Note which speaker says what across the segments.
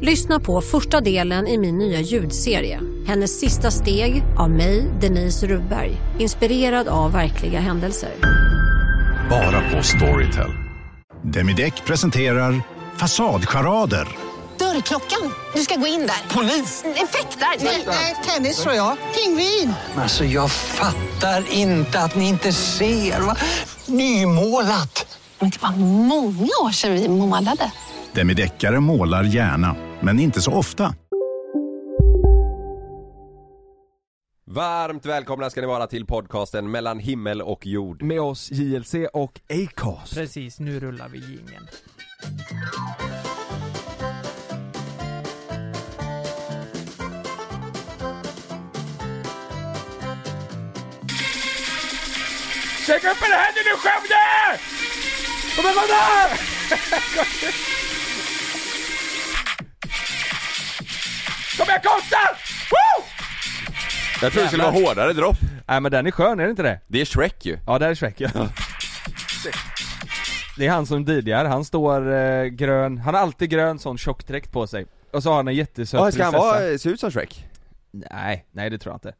Speaker 1: Lyssna på första delen i min nya ljudserie. Hennes sista steg av mig, Denise Rubberg. Inspirerad av verkliga händelser.
Speaker 2: Bara på Storytel.
Speaker 3: Demideck presenterar Fasadcharader.
Speaker 4: Dörrklockan. Du ska gå in där. Polis? Effektar? Nej, tennis tror jag. Pingvin.
Speaker 5: Alltså jag fattar inte att ni inte ser. Va? Nymålat!
Speaker 4: Men det var många år sedan vi målade.
Speaker 3: Demideckare målar gärna, men inte så ofta.
Speaker 6: Varmt välkomna ska ni vara till podcasten mellan himmel och jord.
Speaker 7: med oss JLC och Acast.
Speaker 8: Precis, nu rullar vi jingeln.
Speaker 7: Sätt upp en hand nu Skövde! Kom igen, kom där! Kom igen Kostar! Woo!
Speaker 6: Jag tror det skulle vara
Speaker 7: Jävlar.
Speaker 6: hårdare dropp.
Speaker 7: Nej men den är skön, är det inte det?
Speaker 6: Det är Shrek ju.
Speaker 7: Ja, där är Shrek ja. Det är han som DJar, han står eh, grön, han har alltid grön sån tjockdräkt på sig. Och så har han en jättesöt
Speaker 6: Ja, ska han
Speaker 7: prinsessa.
Speaker 6: vara, se ut som Shrek?
Speaker 7: Nej, nej det tror jag inte.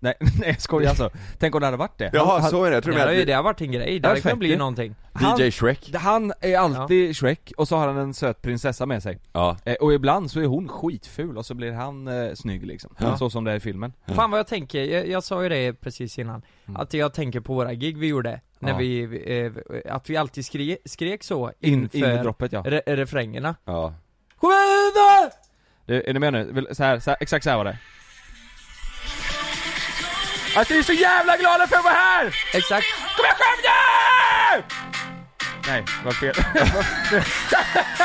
Speaker 7: Nej, nej jag skojar alltså. Tänk om det hade varit det.
Speaker 6: Jaha,
Speaker 7: han,
Speaker 6: så är det. Jag tror
Speaker 8: Det har ju
Speaker 6: mer
Speaker 8: det har varit en grej, det hade
Speaker 7: Perfekt
Speaker 8: kunnat bli
Speaker 7: ju.
Speaker 8: någonting.
Speaker 7: han,
Speaker 6: DJ Shrek.
Speaker 7: han är alltid Shrek och så har han en söt prinsessa med sig.
Speaker 6: Ja.
Speaker 7: Eh, Och ibland så är hon skitful och så blir han eh, snygg liksom,
Speaker 6: Ja.
Speaker 7: så som det är i filmen
Speaker 8: Fan vad jag tänker, jag, jag sa ju det precis innan, att jag tänker på våra gig vi gjorde, när
Speaker 7: Mm. Ja.
Speaker 8: vi, eh, att vi alltid skre, skrek så
Speaker 7: In, in i
Speaker 8: inför
Speaker 7: droppet ja
Speaker 8: re, refrängerna.
Speaker 6: Ja.
Speaker 8: Kom igen då!
Speaker 7: du, Är ni med nu? Vill- Så här, så här, exakt så här var det Att vi är så jävla glada för att vara här!
Speaker 8: Exakt.
Speaker 7: Kom igen Skövde! Nej, vad fel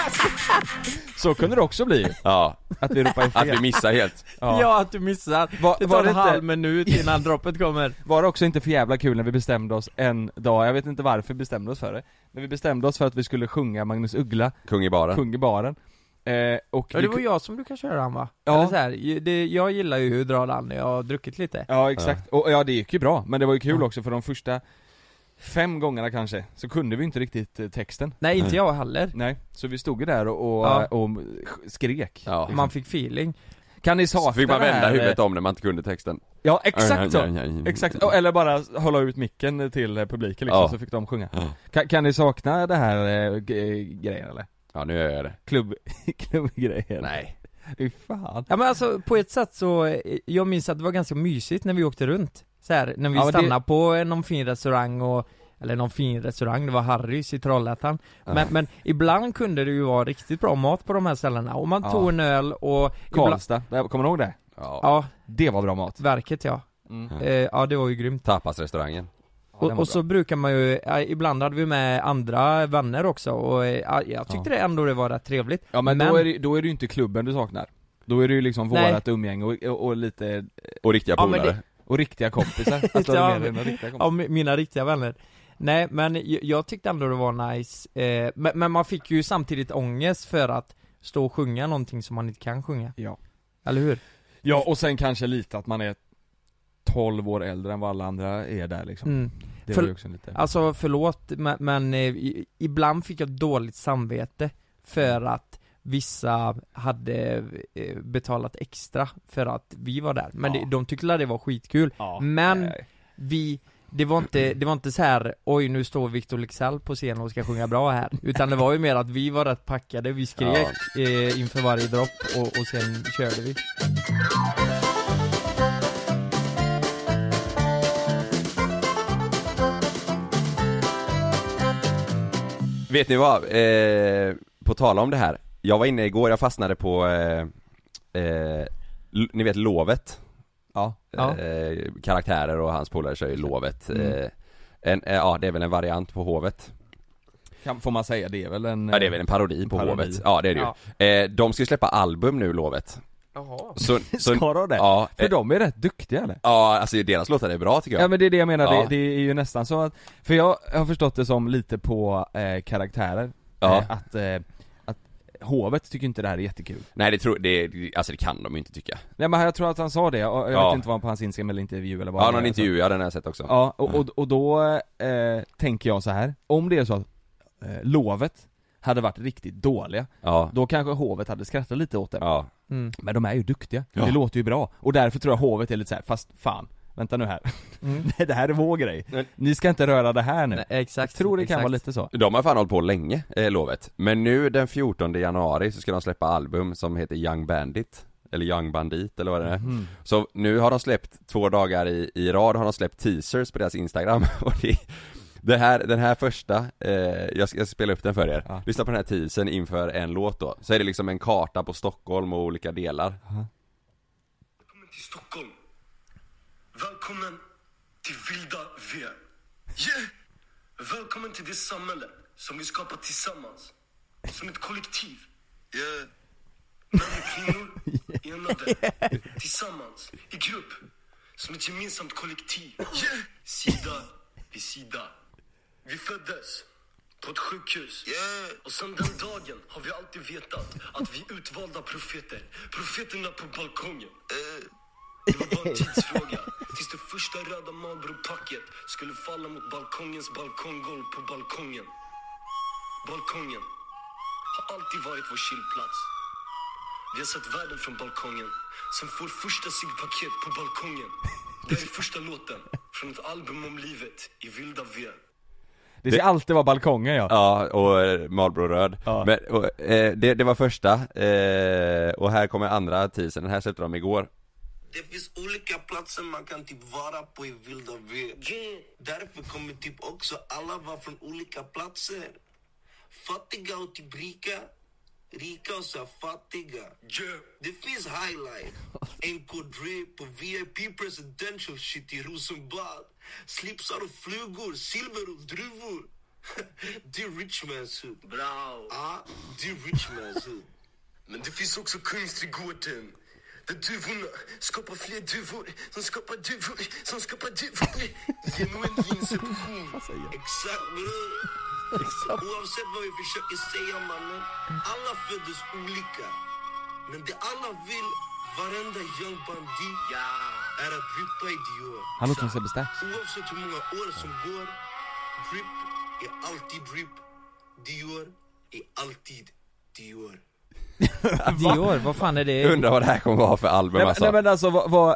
Speaker 7: Så kunde det också bli,
Speaker 6: ja.
Speaker 7: att vi ropar
Speaker 6: Att
Speaker 7: fel
Speaker 6: vi missar helt.
Speaker 8: Ja, att du missar.
Speaker 7: Var-
Speaker 8: det
Speaker 7: var
Speaker 8: tar
Speaker 7: det
Speaker 8: en
Speaker 7: inte-
Speaker 8: halv minut innan droppet kommer.
Speaker 7: Var det också inte för jävla kul när vi bestämde oss en dag, jag vet inte varför vi bestämde oss för det Men vi bestämde oss för att vi skulle sjunga Magnus Uggla,
Speaker 6: Kung i baren.
Speaker 7: Kung i baren eh, och
Speaker 8: Ja
Speaker 7: vi
Speaker 8: det var jag som brukade köra han va?
Speaker 7: Ja.
Speaker 8: Eller så här, ju- det, jag gillar ju hur drar han när jag har druckit lite.
Speaker 7: Ja exakt, och ja det gick ju bra, men det var ju kul också för de första fem gångerna kanske, så kunde vi inte riktigt eh, texten
Speaker 8: Nej inte jag heller.
Speaker 7: Nej, så vi stod ju där och, och,
Speaker 8: Ja.
Speaker 7: och skrek
Speaker 6: Ja.
Speaker 8: Man fick feeling.
Speaker 7: Kan ni sakna
Speaker 6: Så fick man
Speaker 7: det
Speaker 6: vända
Speaker 7: här, eh,
Speaker 6: huvudet om när man inte kunde texten.
Speaker 7: Ja exakt så! Exakt, Och- eller bara hålla ut micken till eh, publiken liksom,
Speaker 6: Ja.
Speaker 7: så fick de sjunga
Speaker 6: Ja.
Speaker 7: kan, kan ni sakna det här eh, g- grejen eller?
Speaker 6: Ja, nu gör jag det.
Speaker 7: Klubb, klubbgrejen?
Speaker 6: Nej.
Speaker 7: Fy fan
Speaker 8: Ja men alltså på ett sätt så, eh, jag minns att det var ganska mysigt när vi åkte runt så här, när vi
Speaker 7: Ja, men det-
Speaker 8: stannade på eh, någon fin restaurang och eller någon fin restaurang, det var Harrys i Trollhättan men, men ibland kunde det ju vara riktigt bra mat på de här ställena, och man
Speaker 7: Ja.
Speaker 8: tog en öl och ibland,
Speaker 7: Karlstad, där- kommer ni ihåg det?
Speaker 6: Ja.
Speaker 8: Ja,
Speaker 7: Det var bra mat
Speaker 8: verket ja
Speaker 7: Mm.
Speaker 8: eh, Ja det var ju grymt
Speaker 6: Tapasrestaurangen.
Speaker 7: Ja, den
Speaker 8: och,
Speaker 7: var
Speaker 8: och så brukar man ju, eh, ibland hade vi med andra vänner också och eh, ja, jag tyckte det ändå det var rätt trevligt
Speaker 7: Ja men, Då, är det, då är det ju inte klubben du saknar Då är det ju liksom
Speaker 8: Nej.
Speaker 7: vårat umgänge och, och, och lite, eh,
Speaker 6: Och riktiga
Speaker 8: Ja, men det-
Speaker 6: polare.
Speaker 7: och riktiga kompisar, att du
Speaker 8: Ja,
Speaker 7: hade med dig
Speaker 8: men-
Speaker 7: några riktiga kompisar
Speaker 8: Ja, mi- mina riktiga vänner Nej men jag, jag tyckte ändå det var nice, eh, men, men man fick ju samtidigt ångest för att stå och sjunga någonting som man inte kan sjunga
Speaker 7: Ja.
Speaker 8: Eller hur?
Speaker 7: Ja och sen kanske lite att man är 12 år äldre än vad alla andra är där liksom
Speaker 8: Mm.
Speaker 7: Det
Speaker 8: För-
Speaker 7: var ju också lite
Speaker 8: Alltså förlåt men, men eh, i- ibland fick jag dåligt samvete för att vissa hade eh, betalat extra för att vi var där, men
Speaker 7: Ja.
Speaker 8: det, de tyckte att det var skitkul
Speaker 7: ja,
Speaker 8: men-
Speaker 7: nej.
Speaker 8: Vi, det var inte, det var inte så här, oj nu står Victor Leksell på scen och ska sjunga bra här Utan det var ju mer att vi var rätt packade, vi skrek eh, inför varje dropp och, och sen körde vi
Speaker 6: Vet ni vad? Eh, på tal om det här. Jag var inne igår, jag fastnade på, eh, eh, l- ni vet Lovet.
Speaker 7: Ja,
Speaker 8: Ja.
Speaker 6: Eh, karaktärer och hans polare kör ju Lovet.
Speaker 8: Mm.
Speaker 6: Eh, en, eh, ja, det är väl en variant på Hovet.
Speaker 7: kan, får man säga det är väl en
Speaker 6: Ja, det är väl en parodi på
Speaker 7: Parodi.
Speaker 6: Hovet. Ja, det är det ju. Eh, de ska ju släppa album nu, Lovet.
Speaker 8: Jaha.
Speaker 6: Så, så,
Speaker 7: Ska de det?
Speaker 6: ja,
Speaker 7: För
Speaker 6: eh,
Speaker 7: de är rätt duktiga eller?
Speaker 6: ja, alltså deras låtar är bra tycker
Speaker 7: Ja.
Speaker 6: jag
Speaker 7: men det är det jag menar,
Speaker 6: Ja.
Speaker 7: det, det är ju nästan så att, för jag har förstått det som lite på eh, karaktärer,
Speaker 6: Ja.
Speaker 7: eh, att, eh, att hovet tycker inte det här är jättekul.
Speaker 6: Nej det tror, det, alltså det kan de ju inte tycka
Speaker 7: Nej men jag tror att han sa det, och jag
Speaker 6: Ja.
Speaker 7: vet inte vad han på hans Instagram eller intervju eller vad
Speaker 6: Ja
Speaker 7: han
Speaker 6: någon
Speaker 7: gör,
Speaker 6: intervju, ja den har jag sett också
Speaker 7: så. Ja, och, och, och då eh, tänker jag så här om det är så att eh, lovet hade varit riktigt dåliga,
Speaker 6: Ja,
Speaker 7: då kanske hovet hade skrattat lite åt det.
Speaker 6: ja.
Speaker 8: Mm.
Speaker 7: Men de är ju duktiga,
Speaker 6: Ja.
Speaker 7: det låter ju bra. Och därför tror jag hovet är lite så här, fast fan, vänta nu här. Nej, det här är vår grej.
Speaker 6: Men-
Speaker 7: Ni ska inte röra det här nu.
Speaker 8: Nej, exakt.
Speaker 7: jag tror det kan
Speaker 8: exakt.
Speaker 7: vara lite så.
Speaker 6: De har fan hållit på länge, eh, lovet. Men nu den 14 januari så ska de släppa album som heter Young Bandit Eller Young Bandit eller vad det är Så nu har de släppt, två dagar i, i rad har de släppt teasers på deras instagram och det, det här, den här första, eh, jag, ska, jag ska spela upp den för er
Speaker 7: Ja.
Speaker 6: Lyssna på den här teasern inför en låt då, så är det liksom en karta på Stockholm och olika delar
Speaker 9: Välkommen till Stockholm. Välkommen till vilda V. Yeah! Välkommen till det samhälle som vi skapar tillsammans. Som ett kollektiv. Yeah. Män och kvinnor enade. Tillsammans. I grupp. Som ett gemensamt kollektiv. Yeah! Sida vid sida. Vi föddes på ett sjukhus. Och sedan den dagen har vi alltid vetat att vi är utvalda profeter. Profeterna på balkongen. Det var bara en tidsfråga tills det första röda Marlboro-packet skulle falla mot balkongens balkonggolv på balkongen. Balkongen har alltid varit vår chillplats. Vi har sett världen från balkongen. Sen får första ciggpaket på balkongen. Det här är första låten från ett album om livet i vilda V.
Speaker 7: Det ska alltid vara balkongen ja.
Speaker 6: Ja, och eh, Marlboro röd.
Speaker 7: Ja.
Speaker 6: Men, och, eh, det, det var första, eh, och här kommer andra teasern, den här släppte de igår
Speaker 9: Det finns olika platser man kan typ vara på i vilda V. Därför kommer typ också alla vara från olika platser. Fattiga och typ rika. Rika och så här fattiga. Det finns highlight. En kod Dre på VIP presidential shit i Rosenbad. Slipsar och flugor, silver och druvor. Det är rich man's hood. Bra. Ja, det är rich man's hood. Men det finns också Kungsträdgården. Där duvorna skapar fler duvor som skapar duvor som skapar duvor genom en inception. Exakt bror. Oavsett vad vi försöker säga mannen. Alla föddes olika. Men det alla vill, varenda young bandit är att drippa i Dior.
Speaker 7: Han låter som Sebbe Stax.
Speaker 9: Oavsett hur många år som går, drip är alltid drip. Dior är alltid Dior.
Speaker 8: Dior, vad fan är det?
Speaker 6: Jag undrar vad det här kommer vara för album
Speaker 7: Nej, men-
Speaker 6: alltså.
Speaker 7: nej men alltså vad, vad,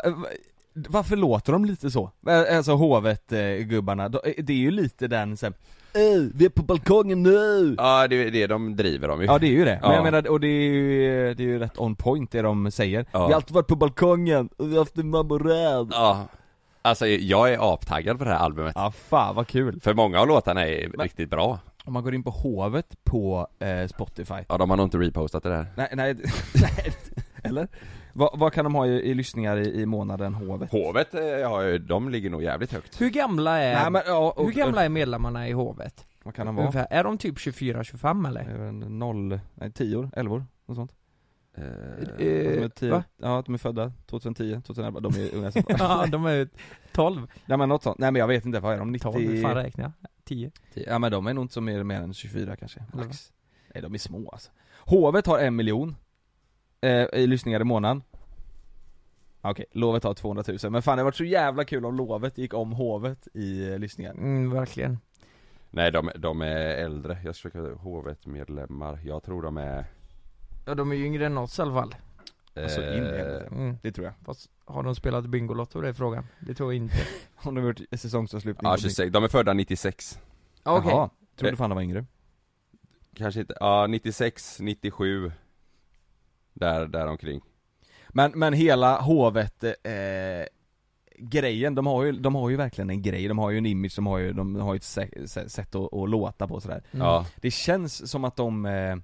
Speaker 7: varför låter de lite så? Eh, Alltså hovet-gubbarna, eh, det är ju lite den sen, "Ey, Eh, vi är på balkongen nu!
Speaker 6: Ja det är det de driver om ju
Speaker 7: Ja det är ju det, men
Speaker 6: Ja.
Speaker 7: jag menar, och det är ju, det är ju rätt on point det de säger
Speaker 6: Ja.
Speaker 7: Vi har alltid varit på balkongen, och vi har haft en mamma rädd
Speaker 6: Ja. Alltså jag är aptaggad på det här albumet
Speaker 7: Ja fan vad kul!
Speaker 6: För många av låtarna är riktigt bra
Speaker 7: Om man går in på hovet på eh, Spotify
Speaker 6: Ja de har nog inte repostat det där
Speaker 7: Nej, nej, nej eller? Vad, vad kan de ha i, i lyssningar i, i månaden, hovet?
Speaker 6: Hovet, eh, har ju, de ligger nog jävligt högt
Speaker 8: Hur gamla är,
Speaker 7: Nej, men, ja, och,
Speaker 8: hur gamla är medlemmarna i hovet?
Speaker 7: Vad kan de vara?
Speaker 8: Ungefär, är de typ 24-25 eller?
Speaker 7: Även Noll, nej tior, elvor, något sånt
Speaker 6: eh,
Speaker 7: de är
Speaker 8: Eh,
Speaker 7: tio,
Speaker 8: va?
Speaker 7: ja att de är födda 2010, 2011, de är unga som fan.
Speaker 8: ja, de är ju 12,
Speaker 7: Nej men något sånt, nej men jag vet inte, vad är de?
Speaker 8: 12, hur
Speaker 7: 90?
Speaker 8: fan räknar jag? 10?
Speaker 7: Ja men de är nog inte så mer, mer än 24 kanske,
Speaker 8: Eller
Speaker 7: max Nej de är små alltså Hovet har en miljon eh, i lyssningar i månaden Ja, Okej, Lovet har 200 000, men fan det hade varit så jävla kul om Lovet gick om Hovet i eh, lyssningar
Speaker 8: Mm, verkligen.
Speaker 6: Nej de, de är äldre, jag ska försöka, hovet medlemmar, jag tror de är
Speaker 8: Ja, de är ju yngre än oss i alla fall.
Speaker 6: eh,
Speaker 7: Alltså, in i helvete.
Speaker 8: Mm.
Speaker 7: Det tror jag
Speaker 8: Fast, har de spelat Bingolotto det är frågan? Det tror jag inte.
Speaker 7: Om de har gjort säsongsavslutning
Speaker 6: Ja
Speaker 7: på-
Speaker 6: 26, de är födda 96
Speaker 8: Ja, Okej.
Speaker 7: Jaha, trodde fan de var yngre
Speaker 6: Kanske inte, ja 96, 97 Där, där omkring
Speaker 7: Men, men hela hovet eh, grejen, de har, ju, de har ju verkligen en grej, de har ju en image, de har ju, de har ju ett sä- sä- sätt att, att låta på och sådär
Speaker 8: Mm.
Speaker 6: Ja,
Speaker 7: Det känns som att de eh,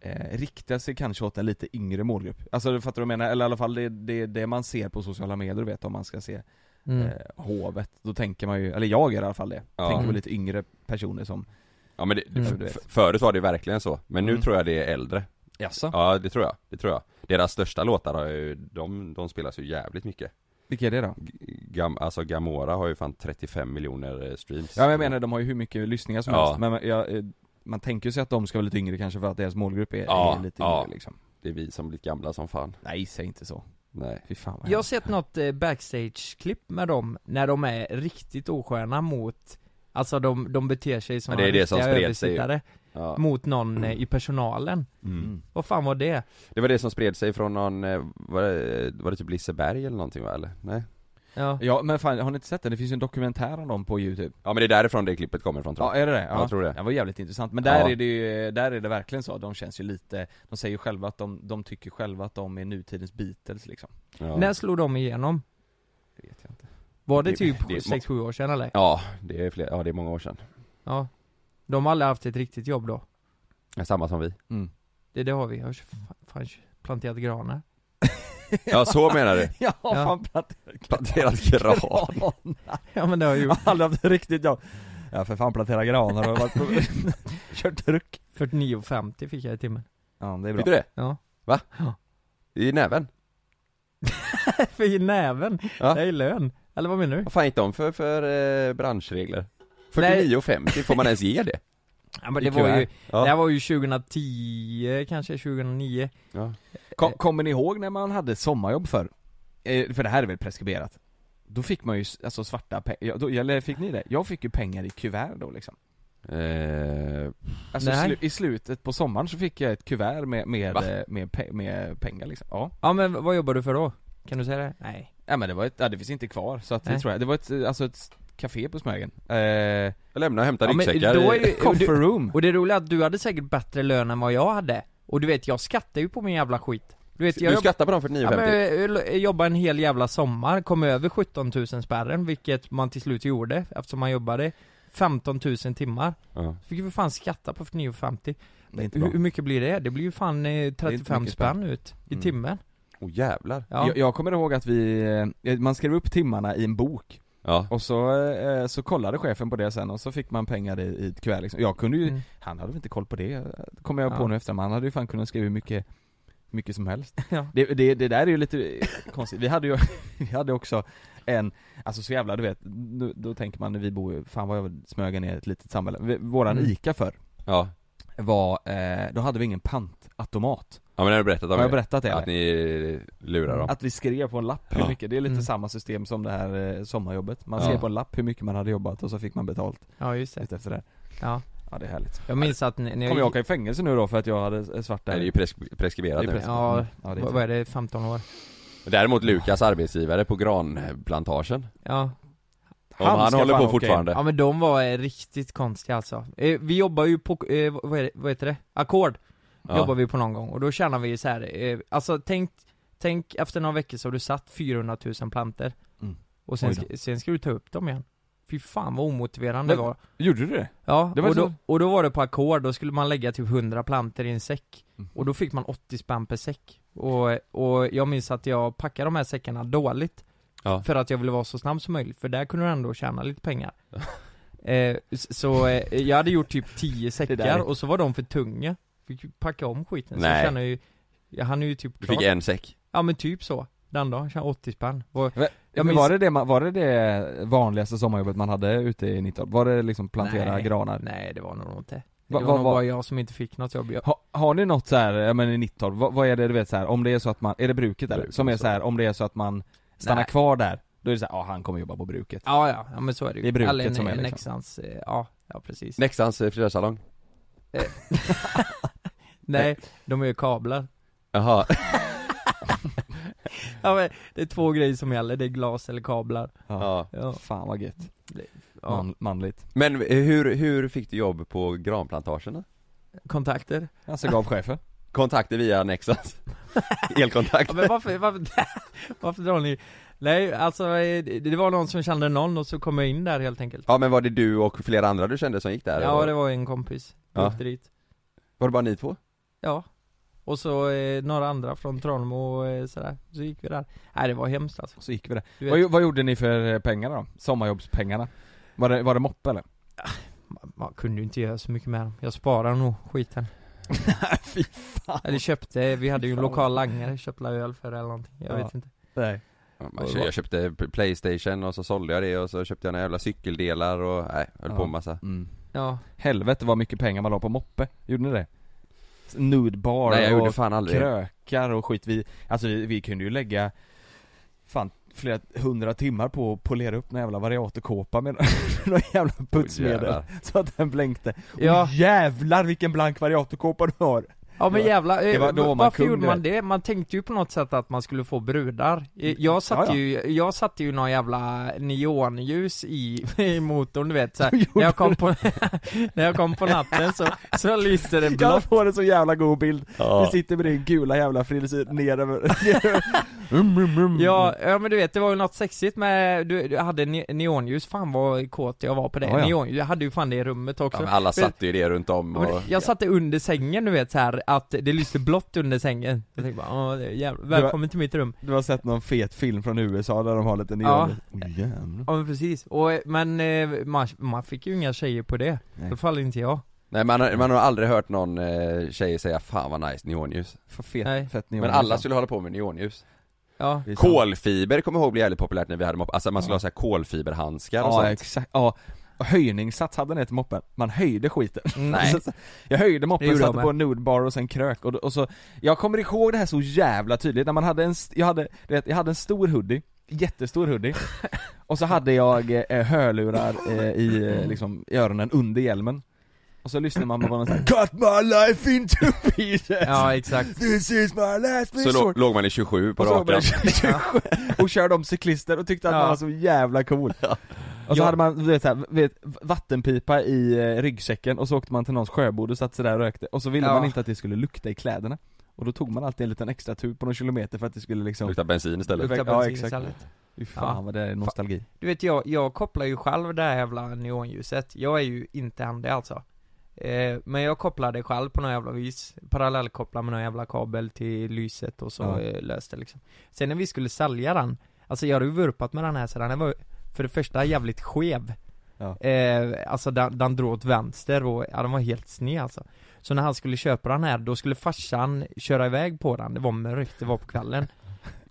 Speaker 7: eh, riktar sig kanske åt en lite yngre målgrupp Alltså du fattar vad jag menar? Eller i alla fall det, det, det man ser på sociala medier du vet om man ska se
Speaker 8: Mm.
Speaker 7: eh, hovet, då tänker man ju, eller jag gör i alla fall det,
Speaker 6: Ja.
Speaker 7: tänker på lite yngre personer som
Speaker 6: ja men det,
Speaker 8: Mm.
Speaker 6: f- f- förut var det verkligen så, men nu
Speaker 7: Mm.
Speaker 6: tror jag det är äldre
Speaker 7: Jaså?
Speaker 6: Ja det tror jag, det tror jag Deras största låtar har ju, de, de spelas ju jävligt mycket
Speaker 7: Vilka är det då?
Speaker 6: G- Gam, Alltså Gamora har ju fan 35 miljoner eh, streams
Speaker 7: Ja men jag menar de har ju hur mycket lyssningar som
Speaker 6: Ja.
Speaker 7: helst, men jag, eh, man tänker sig att de ska vara lite yngre kanske för att deras målgrupp är,
Speaker 6: Ja,
Speaker 7: är lite
Speaker 6: ja.
Speaker 7: yngre liksom
Speaker 6: Det är vi som blivit gamla som fan
Speaker 7: Nej säg inte så,
Speaker 6: Nej
Speaker 7: fy fan vad
Speaker 8: Jag har
Speaker 7: jag...
Speaker 8: sett något eh, backstage-klipp med dem när de är riktigt osköna mot Alltså de, de beter sig som
Speaker 6: Ja, det är det som
Speaker 8: riktiga
Speaker 6: spred sig ju.
Speaker 8: översittare
Speaker 6: ja.
Speaker 8: mot någon eh, i personalen
Speaker 6: mm.
Speaker 8: Vad fan var det?
Speaker 6: Det var det som spred sig från någon, eh, var det, var det typ Liseberg eller någonting va eller? Nej?
Speaker 8: Ja,
Speaker 7: Ja men fan, har ni inte sett den? Det finns ju en dokumentär om dem på youtube
Speaker 6: Ja men det är därifrån det klippet kommer från tror
Speaker 7: Ja
Speaker 6: jag
Speaker 7: är det det? Ja.
Speaker 6: jag tror det.
Speaker 7: Det var jävligt intressant, men där
Speaker 6: Ja.
Speaker 7: är det ju, där är det verkligen så, de känns ju lite, de säger ju själva att de, de tycker själva att de är nutidens Beatles liksom
Speaker 6: ja.
Speaker 8: När slog de igenom?
Speaker 7: Det vet jag inte
Speaker 8: Var det,
Speaker 6: Det-
Speaker 8: typ
Speaker 6: det-
Speaker 8: 6-7 år sedan eller?
Speaker 6: ja, det är flera, ja det är många år sedan
Speaker 8: Ja De har aldrig haft ett riktigt jobb då?
Speaker 6: Ja, Samma som vi
Speaker 8: Det, det har vi, jag har fan- fan planterat granar
Speaker 6: Ja så menar du?
Speaker 7: Ja, fan
Speaker 6: Planterat gran
Speaker 7: plan!
Speaker 8: Ja men det har jag
Speaker 7: Jag
Speaker 8: gjort,
Speaker 7: har aldrig haft riktigt jobb Ja för fan plantera granar och varit på... kört truck
Speaker 8: 49,50 fick jag i timmen
Speaker 7: Ja det är
Speaker 6: Fick du det?
Speaker 8: Ja.
Speaker 6: Va?
Speaker 8: Ja.
Speaker 6: I näven?
Speaker 8: För i näven,
Speaker 6: Ja.
Speaker 8: det är lön, eller vad menar du?
Speaker 6: Vad fan gick de för, för eh, branschregler?
Speaker 8: Nej.
Speaker 6: 49,50, får man ens ge det?
Speaker 8: Ja, men
Speaker 6: I
Speaker 8: det var ju,
Speaker 6: kuvert. Ja.
Speaker 8: det här var ju 2010, kanske 2009
Speaker 7: Kom, Kommer ni ihåg när man hade sommarjobb för eh, För det här är väl preskriberat? Då fick man ju s- alltså svarta pengar, eller fick ni det? Jag fick ju pengar i kuvert då liksom
Speaker 6: Eh,
Speaker 7: Alltså i,
Speaker 8: Nej.
Speaker 7: slu, i slutet på sommaren så fick jag ett kuvert med, med,
Speaker 6: Va?
Speaker 7: eh, med, pe- med pengar liksom, ja
Speaker 8: Ja men vad jobbar du för då? Kan du säga det? Nej
Speaker 7: Ja men det var ett, ja, det finns inte kvar så att det
Speaker 8: Nej.
Speaker 7: tror jag, det var ett, eh, alltså ett café på Smögen eh,
Speaker 6: jag lämnar och hämtar
Speaker 8: Ja, men
Speaker 6: ryggsäckar
Speaker 8: då är
Speaker 6: i-
Speaker 8: ju- och
Speaker 7: Comfort
Speaker 8: du-
Speaker 7: room!
Speaker 8: Och det roliga är att du hade säkert bättre lön än vad jag hade Och du vet, jag skattar ju på min jävla skit Du vet, jag eh,
Speaker 6: Du
Speaker 8: jobb...
Speaker 6: skattar på dem för
Speaker 8: ja,
Speaker 6: 9,50?
Speaker 8: men, jag- jag jobbade en hel jävla sommar, kom över 17 000 spärren, vilket man till slut gjorde eftersom man jobbade 15 000 timmar
Speaker 6: Ja.
Speaker 8: Fick ju för fan skatta på 9,50
Speaker 7: Det är inte
Speaker 8: Hur
Speaker 7: bra
Speaker 8: hur mycket blir det? Det blir ju fan eh,
Speaker 7: inte
Speaker 8: 35
Speaker 7: mycket
Speaker 8: spänn ut i
Speaker 7: Mm.
Speaker 8: timmen
Speaker 6: Oh jävlar
Speaker 8: Ja,
Speaker 7: jag, jag kommer ihåg att vi, eh, man skrev upp timmarna i en bok
Speaker 6: Ja,
Speaker 7: och så, eh, så kollade chefen på det sen och så fick man pengar i, i ett kuvert liksom. Jag kunde ju,
Speaker 8: Mm.
Speaker 7: han hade väl inte koll på det, kommer jag på
Speaker 8: Ja.
Speaker 7: nu efter, men han hade ju fan kunnat skriva hur mycket mycket som helst.
Speaker 8: Ja.
Speaker 7: Det, det, det där är ju lite konstigt. Vi hade ju, vi hade också en, alltså så jävla du vet, nu, då tänker man när vi bor, fan vad jag Smögen är ett litet samhälle. Vi- Våran
Speaker 8: Mm.
Speaker 7: ICA förr
Speaker 6: ja,
Speaker 7: var, eh, då hade vi ingen pantautomat.
Speaker 6: ja men det har du berättat om
Speaker 7: Har jag
Speaker 6: det.
Speaker 7: berättat det?
Speaker 6: Att
Speaker 7: eller?
Speaker 6: ni lurar dem?
Speaker 7: Att vi skrev på en lapp hur
Speaker 6: Ja.
Speaker 7: mycket, det är lite
Speaker 8: Mm.
Speaker 7: samma system som det här eh, sommarjobbet. Man
Speaker 6: Ja.
Speaker 7: skrev på en lapp hur mycket man hade jobbat och så fick man betalt
Speaker 8: ja just det
Speaker 7: lite efter det.
Speaker 8: Ja.
Speaker 7: Ja det är härligt.
Speaker 8: Jag minns att när när jag
Speaker 7: Kommer jag åka i fängelse nu då för att jag hade svart där?
Speaker 6: Nej det är ju presk- preskriberat
Speaker 7: Det är Mm.
Speaker 6: nu
Speaker 7: pres-
Speaker 8: Ja,
Speaker 7: ja, det är
Speaker 8: vad vad är det, 15 år?
Speaker 6: Däremot Lukas arbetsgivare på granplantagen
Speaker 8: Ja,
Speaker 6: Om
Speaker 7: Han
Speaker 6: han,
Speaker 7: ska
Speaker 6: håller
Speaker 7: fan
Speaker 6: på
Speaker 7: åka in.
Speaker 6: fortfarande
Speaker 8: ja men de var eh, riktigt konstiga alltså eh, Vi jobbar ju på, eh, vad, är det, vad heter det? Ackord
Speaker 6: Ja.
Speaker 8: jobbar vi på någon gång och då tjänar vi så här, eh, alltså tänk, tänk efter några veckor så har du satt 400 000 planter
Speaker 7: Mm.
Speaker 8: Och sen,
Speaker 7: Oj då.
Speaker 8: ska, sen ska du ta upp dem igen Fy fan vad omotiverande det
Speaker 7: Men-
Speaker 8: var
Speaker 7: Gjorde du det?
Speaker 8: Ja,
Speaker 7: Det var
Speaker 8: och, då,
Speaker 7: så-
Speaker 8: och då var det på ackord, då skulle man lägga typ 100 planter i en säck
Speaker 7: Mm.
Speaker 8: Och då fick man 80 spänn per säck Och, och jag minns att jag packade de här säckarna dåligt
Speaker 6: Ja.
Speaker 8: För att jag ville vara så snabb som möjligt, för där kunde du ändå tjäna lite pengar eh, s- Så eh, jag hade gjort typ 10
Speaker 7: där
Speaker 8: säckar
Speaker 7: är-
Speaker 8: och så var de för tunga Fick ju packa om skiten,
Speaker 6: Nej.
Speaker 8: så tjänade jag ju Jag hann ju typ
Speaker 6: Du fick
Speaker 8: klart-
Speaker 6: en säck
Speaker 8: Ja men typ så, den dagen, tjänade 80 spänn Var-
Speaker 7: Men-
Speaker 8: Jag
Speaker 7: men
Speaker 8: minns-
Speaker 7: var, det det, man- var det det vanligaste sommarjobbet man hade ute i Nittorp? Var det liksom plantera
Speaker 8: Nej.
Speaker 7: granar?
Speaker 8: Nej det var nog inte Det var
Speaker 7: Va- va-
Speaker 8: nog
Speaker 7: va-
Speaker 8: bara jag som inte fick något jobb Jag-
Speaker 7: Ha, har ni något så här, ja men i Nittorp, vad, vad är det du vet så här, om det är så att man, är det bruket eller?
Speaker 6: Bruk,
Speaker 7: Som är
Speaker 6: alltså.
Speaker 7: så här, om det är så att man stannar
Speaker 8: Nej.
Speaker 7: kvar där, då är det så här, ja han kommer jobba på bruket
Speaker 8: Ja, ja, ja men så är det ju.
Speaker 7: Det är bruket
Speaker 8: Eller en,
Speaker 7: som är
Speaker 8: en
Speaker 7: liksom.
Speaker 8: Leksands, eh, ja, ja precis. Nej.
Speaker 6: Leksands eh, frisörsalong
Speaker 8: de är ju kablar.
Speaker 6: Jaha,
Speaker 8: Ja, men det är två grejer som gäller, det är glas eller kablar.
Speaker 6: ja
Speaker 8: Ja,
Speaker 7: Fan vad gött,
Speaker 8: ja.
Speaker 7: Man, manligt
Speaker 6: Men eh, hur, hur fick du jobb på granplantagen då?
Speaker 8: kontakter.
Speaker 7: Alltså gav chefen
Speaker 6: Kontakter via Nexans?
Speaker 8: Ja,
Speaker 6: Elkontakt?
Speaker 8: men varför, varför, varför drar ni? Nej, alltså eh, det det var någon som kände någon och så kom jag in där helt enkelt.
Speaker 6: Ja men var det du och flera andra du kände som gick där?
Speaker 8: Ja, det var en kompis.
Speaker 6: Ja.
Speaker 8: Ja. Dit.
Speaker 6: Var det bara ni två?
Speaker 8: ja. Och så eh, några andra från Tranemo och eh, sådär, så gick vi där. Nej det var hemskt alltså.
Speaker 7: Så gick vi där
Speaker 8: Du
Speaker 7: vad,
Speaker 8: vet,
Speaker 7: gjo- vad gjorde ni för eh, pengarna då? Sommarjobbspengarna? Var det, var det moppe eller?
Speaker 8: man, man kunde ju inte göra så mycket med dem. Jag sparar nog skiten.
Speaker 7: Fy fan.
Speaker 8: Eller köpte, vi hade ju en
Speaker 7: Fan.
Speaker 8: lokal langare, köpte la öl för eller någonting, jag
Speaker 7: Ja.
Speaker 8: vet inte
Speaker 7: Nej.
Speaker 6: Ja, man- Jag köpte p- Playstation och så sålde jag det och så köpte jag några jävla cykeldelar och nej, höll
Speaker 7: Ja.
Speaker 6: på en massa
Speaker 7: Mm.
Speaker 8: Ja,
Speaker 7: Helvete vad mycket pengar man la på moppe, gjorde ni det? Nudbar
Speaker 6: Nej jag gjorde
Speaker 7: och
Speaker 6: fan aldrig det.
Speaker 7: krökar och skit, vi, alltså vi, vi kunde ju lägga fan flera hundra timmar på att polera upp en jävla variatorkåpa med några jävla putsmedel
Speaker 6: jävlar.
Speaker 7: Så att den blänkte, och
Speaker 8: Ja.
Speaker 7: jävlar vilken blank variatorkåpa du har!
Speaker 8: ja men
Speaker 7: Det var-
Speaker 8: jävla,
Speaker 7: det
Speaker 8: eh,
Speaker 7: var- då var man
Speaker 8: varför
Speaker 7: kung,
Speaker 8: gjorde
Speaker 7: du
Speaker 8: man
Speaker 7: vet.
Speaker 8: det? Man tänkte ju på något sätt att man skulle få brudar Eh, Jag satte
Speaker 7: Mm. Ja, ja.
Speaker 8: ju, jag satte ju någon jävla neonljus i, i motorn du vet så här, när, jag kom på, när jag kom på natten så, så lyste det
Speaker 7: Jag
Speaker 8: blått
Speaker 7: får en så jävla god bild, du sitter med din gula jävla frisyr ner över Mm, mm, mm.
Speaker 8: Ja, ja men du vet det var ju något sexigt med, du, du hade ne- neonljus, fan vad kåt jag var på det,
Speaker 7: Ja, ja.
Speaker 8: neonljus, jag hade ju fan det i rummet
Speaker 6: Ja,
Speaker 8: också
Speaker 6: men alla
Speaker 8: Men-
Speaker 6: satte ju det runt om
Speaker 8: Ja, men
Speaker 6: och...
Speaker 8: Jag satte under sängen du vet så här att det lyste blått under sängen Jag tänkte bara, åh, det är jävla, välkommen till mitt rum
Speaker 7: Du har sett någon fet film från USA där de har lite
Speaker 8: Ja.
Speaker 7: neon oh, jävlar.
Speaker 8: Ja men precis, och, eh, men eh, man, man fick ju inga tjejer på det, i alla fall inte jag
Speaker 6: Nej man har, man har aldrig hört någon eh, tjej säga 'Fan vad nice neonljus'
Speaker 7: För fet,
Speaker 8: Nej.
Speaker 7: fett neon
Speaker 6: Men alla skulle hålla på med neonljus
Speaker 8: Ja,
Speaker 7: Det är sant.
Speaker 6: Kolfiber kommer jag ihåg blev jävligt populärt när vi hade mopp, alltså man skulle ha så här kolfiberhandskar och
Speaker 7: Ja
Speaker 6: sånt
Speaker 7: exakt, ja Och höjningssats hade den till moppen, man höjde skiten
Speaker 8: Mm. nej
Speaker 7: Så- Jag höjde
Speaker 8: Det
Speaker 7: moppen,
Speaker 8: gjorde jag
Speaker 7: satte på en nudbar och sen krök och, då- och så Jag kommer ihåg det här så jävla tydligt, när man hade en, st- jag hade, du vet, jag hade en stor hoodie Jättestor hoodie Och så hade jag eh, hörlurar eh, i, eh, liksom, i öronen under hjälmen Och så lyssnade man på någon sån här 'Cut my life into pieces!
Speaker 8: Ja exakt
Speaker 7: This is my last
Speaker 6: Så
Speaker 7: resort'
Speaker 6: lå, låg man i 27 på
Speaker 7: Och så var
Speaker 6: rakan
Speaker 7: man 27 och körde om cyklister och tyckte att
Speaker 8: Ja.
Speaker 7: man var så jävla cool Och så
Speaker 8: Ja.
Speaker 7: hade man, du vet, så här, vet, vattenpipa i eh, ryggsäcken och så åkte man till någons sjöbord och satt sig där och rökte Och så ville
Speaker 8: Ja.
Speaker 7: man inte att det skulle lukta i kläderna Och då tog man alltid en liten extra tur på någon kilometer för att det skulle liksom
Speaker 6: Luktar bensin istället
Speaker 8: Lukta
Speaker 7: Ja,
Speaker 8: bensin
Speaker 7: exakt.
Speaker 8: istället.
Speaker 7: Fy fan
Speaker 8: Ja.
Speaker 7: vad det är nostalgi
Speaker 8: Du vet jag, jag kopplar ju själv det här jävla neonljuset, jag är ju inte han det alltså eh, Men jag kopplar det själv på något jävla vis, parallellkopplar med någon jävla kabel till lyset och så
Speaker 7: Ja.
Speaker 8: eh, löste liksom Sen när vi skulle sälja den, alltså jag hade ju vurpat med den här så den här var för det första jävligt skev
Speaker 7: Ja.
Speaker 8: eh, Alltså den, den drog åt vänster och, ja den var helt sned alltså Så när han skulle köpa den här, då skulle farsan köra iväg på den, det var mörkt, det var på kvällen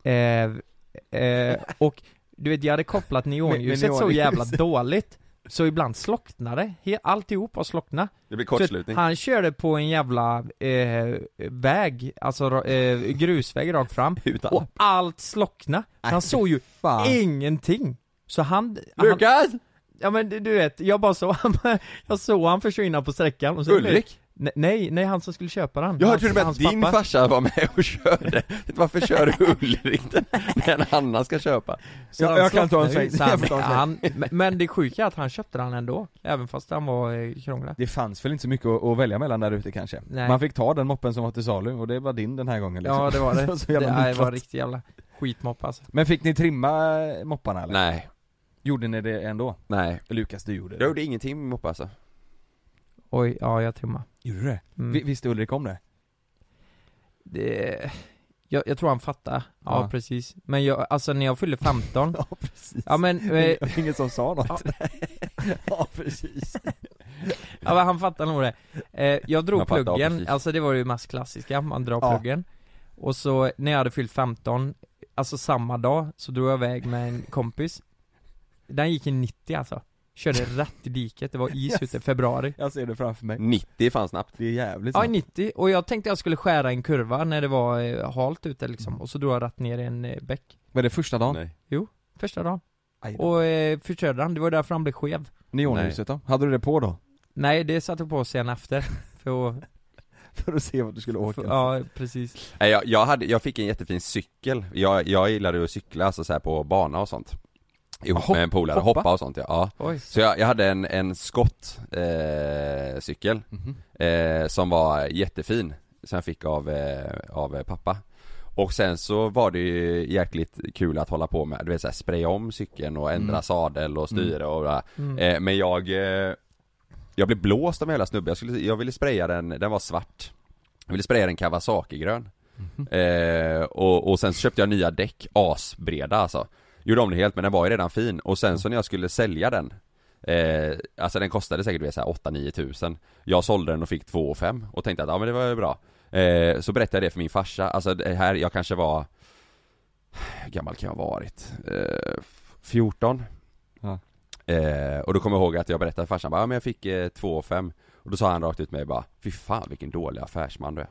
Speaker 8: eh, eh, Och du vet, jag hade kopplat neonljuset
Speaker 7: Med- med
Speaker 8: så
Speaker 7: neonljus.
Speaker 8: jävla dåligt Så ibland slocknade det, alltihop var slockna
Speaker 6: Det blir
Speaker 8: Så
Speaker 6: kortslutning
Speaker 8: Han körde på en jävla eh, väg, alltså ra- eh, grusväg rakt fram
Speaker 6: Utan
Speaker 8: Och allt slockna Så han såg ju
Speaker 7: Äh, Fan.
Speaker 8: ingenting Så han, han
Speaker 6: Lukas!
Speaker 8: Ja men du- du vet, jag bara såg han, jag såg han försvinna på sträckan och så
Speaker 6: Ulrik?
Speaker 8: Ne- Nej, nej han som skulle köpa den
Speaker 6: Jag
Speaker 8: Hans-
Speaker 6: trodde bara att
Speaker 8: hans
Speaker 6: din
Speaker 8: pappa.
Speaker 6: farsa var med och körde Varför kör du Ulrik den- när en annan ska köpa?
Speaker 8: Så
Speaker 7: Ja,
Speaker 8: han
Speaker 7: jag kan ta en
Speaker 8: slocknade ju.
Speaker 7: sväng.
Speaker 8: Så han-
Speaker 7: Jag får ta en sväng.
Speaker 8: han- men- Men det sjuka är att han köpte den ändå, även fast han var eh, krånglig
Speaker 7: Det fanns väl inte så mycket att, att välja mellan där ute kanske?
Speaker 8: Nej.
Speaker 7: Man fick ta den moppen som var till salu och det var din den här gången liksom.
Speaker 8: Ja det var det,
Speaker 7: Så
Speaker 8: det,
Speaker 7: jävla
Speaker 8: nej, det var
Speaker 7: nyklatt.
Speaker 8: riktigt jävla skitmopp alltså
Speaker 7: Men fick ni trimma eh, mopparna eller?
Speaker 6: Nej,
Speaker 7: Gjorde ni det ändå?
Speaker 6: nej
Speaker 7: Lukas du gjorde det
Speaker 6: Jag gjorde ingenting med moppe alltså
Speaker 8: Oj, ja jag trimmade
Speaker 7: Gjorde du det?
Speaker 8: mm.
Speaker 7: Vi- Visste Ulrik om det?
Speaker 8: det, jag, jag tror han fattar, ja,
Speaker 7: Ja.
Speaker 8: precis Men jag, alltså när jag fyllde 15
Speaker 7: Ja precis
Speaker 8: Ja men, eh,
Speaker 7: Det var Ingen som sa något
Speaker 8: Ja.
Speaker 7: Ja precis
Speaker 8: ja, men han fattar nog det eh, Jag drog
Speaker 6: Han fattar, ja,
Speaker 8: pluggen,
Speaker 6: precis.
Speaker 8: alltså det var ju mest klassiska, man drar
Speaker 7: Ja.
Speaker 8: pluggen Och så när jag hade fyllt 15, alltså samma dag, så drog jag iväg med en kompis Den gick i 90 alltså, körde rätt i diket, det var is
Speaker 7: Yes.
Speaker 8: ute i februari
Speaker 7: Jag ser det framför mig
Speaker 6: 90 fanns snabbt
Speaker 7: Det är jävligt
Speaker 8: Ja,
Speaker 7: sant.
Speaker 8: 90, och jag tänkte jag skulle skära en kurva när det var eh, halt ute liksom, och så drog jag rätt ner i en eh, bäck
Speaker 7: Var det första dagen?
Speaker 6: Nej
Speaker 8: Första dagen,
Speaker 7: Aj då.
Speaker 8: och eh, förkörde han, det var därför han blev skev
Speaker 7: Neonljuset då? Hade du det på då?
Speaker 8: Nej, det satte jag på sen efter, för att,
Speaker 7: För att se vart du skulle åka?
Speaker 8: för, ja precis
Speaker 6: Nej, jag, jag, hade, jag fick en jättefin cykel, jag, jag gillade ju att cykla alltså så här på bana och sånt Ihop
Speaker 7: Hopp-
Speaker 6: med en polare,
Speaker 7: hoppa?
Speaker 6: hoppa. och sånt ja, ja.
Speaker 8: Oj,
Speaker 6: Så jag, jag hade en, en skottcykel eh, cykel,
Speaker 7: Mhm.
Speaker 6: eh, som var jättefin Som jag fick av, eh, av eh, pappa Och sen så var det ju jäkligt kul att hålla på med, du vet såhär spraya om cykeln och ändra
Speaker 7: Mm.
Speaker 6: sadel och styre och bla.
Speaker 8: Mm.
Speaker 6: Eh, Men jag eh, Jag blev blåst av hela snubben, jag, skulle, jag ville spraya den, den var svart Jag ville spraya den Kawasaki-grön eh, och, och sen så köpte jag nya däck, asbreda alltså Gjorde om det helt men den var ju redan fin och sen så när jag skulle sälja den Eh, alltså den kostade säkert du vet, så här 8-9 tusen Jag sålde den och fick 2 5 och tänkte att ja men det var ju bra eh, Så berättade jag det för min farsa, alltså det här, jag kanske var Hur gammal kan jag ha varit? Eh, 14
Speaker 7: Ja.
Speaker 6: eh, Och då kommer jag ihåg att jag berättade för farsan bara, ja men jag fick eh, 2 5 och då sa han rakt ut mig bara, fy fan vilken dålig affärsman du är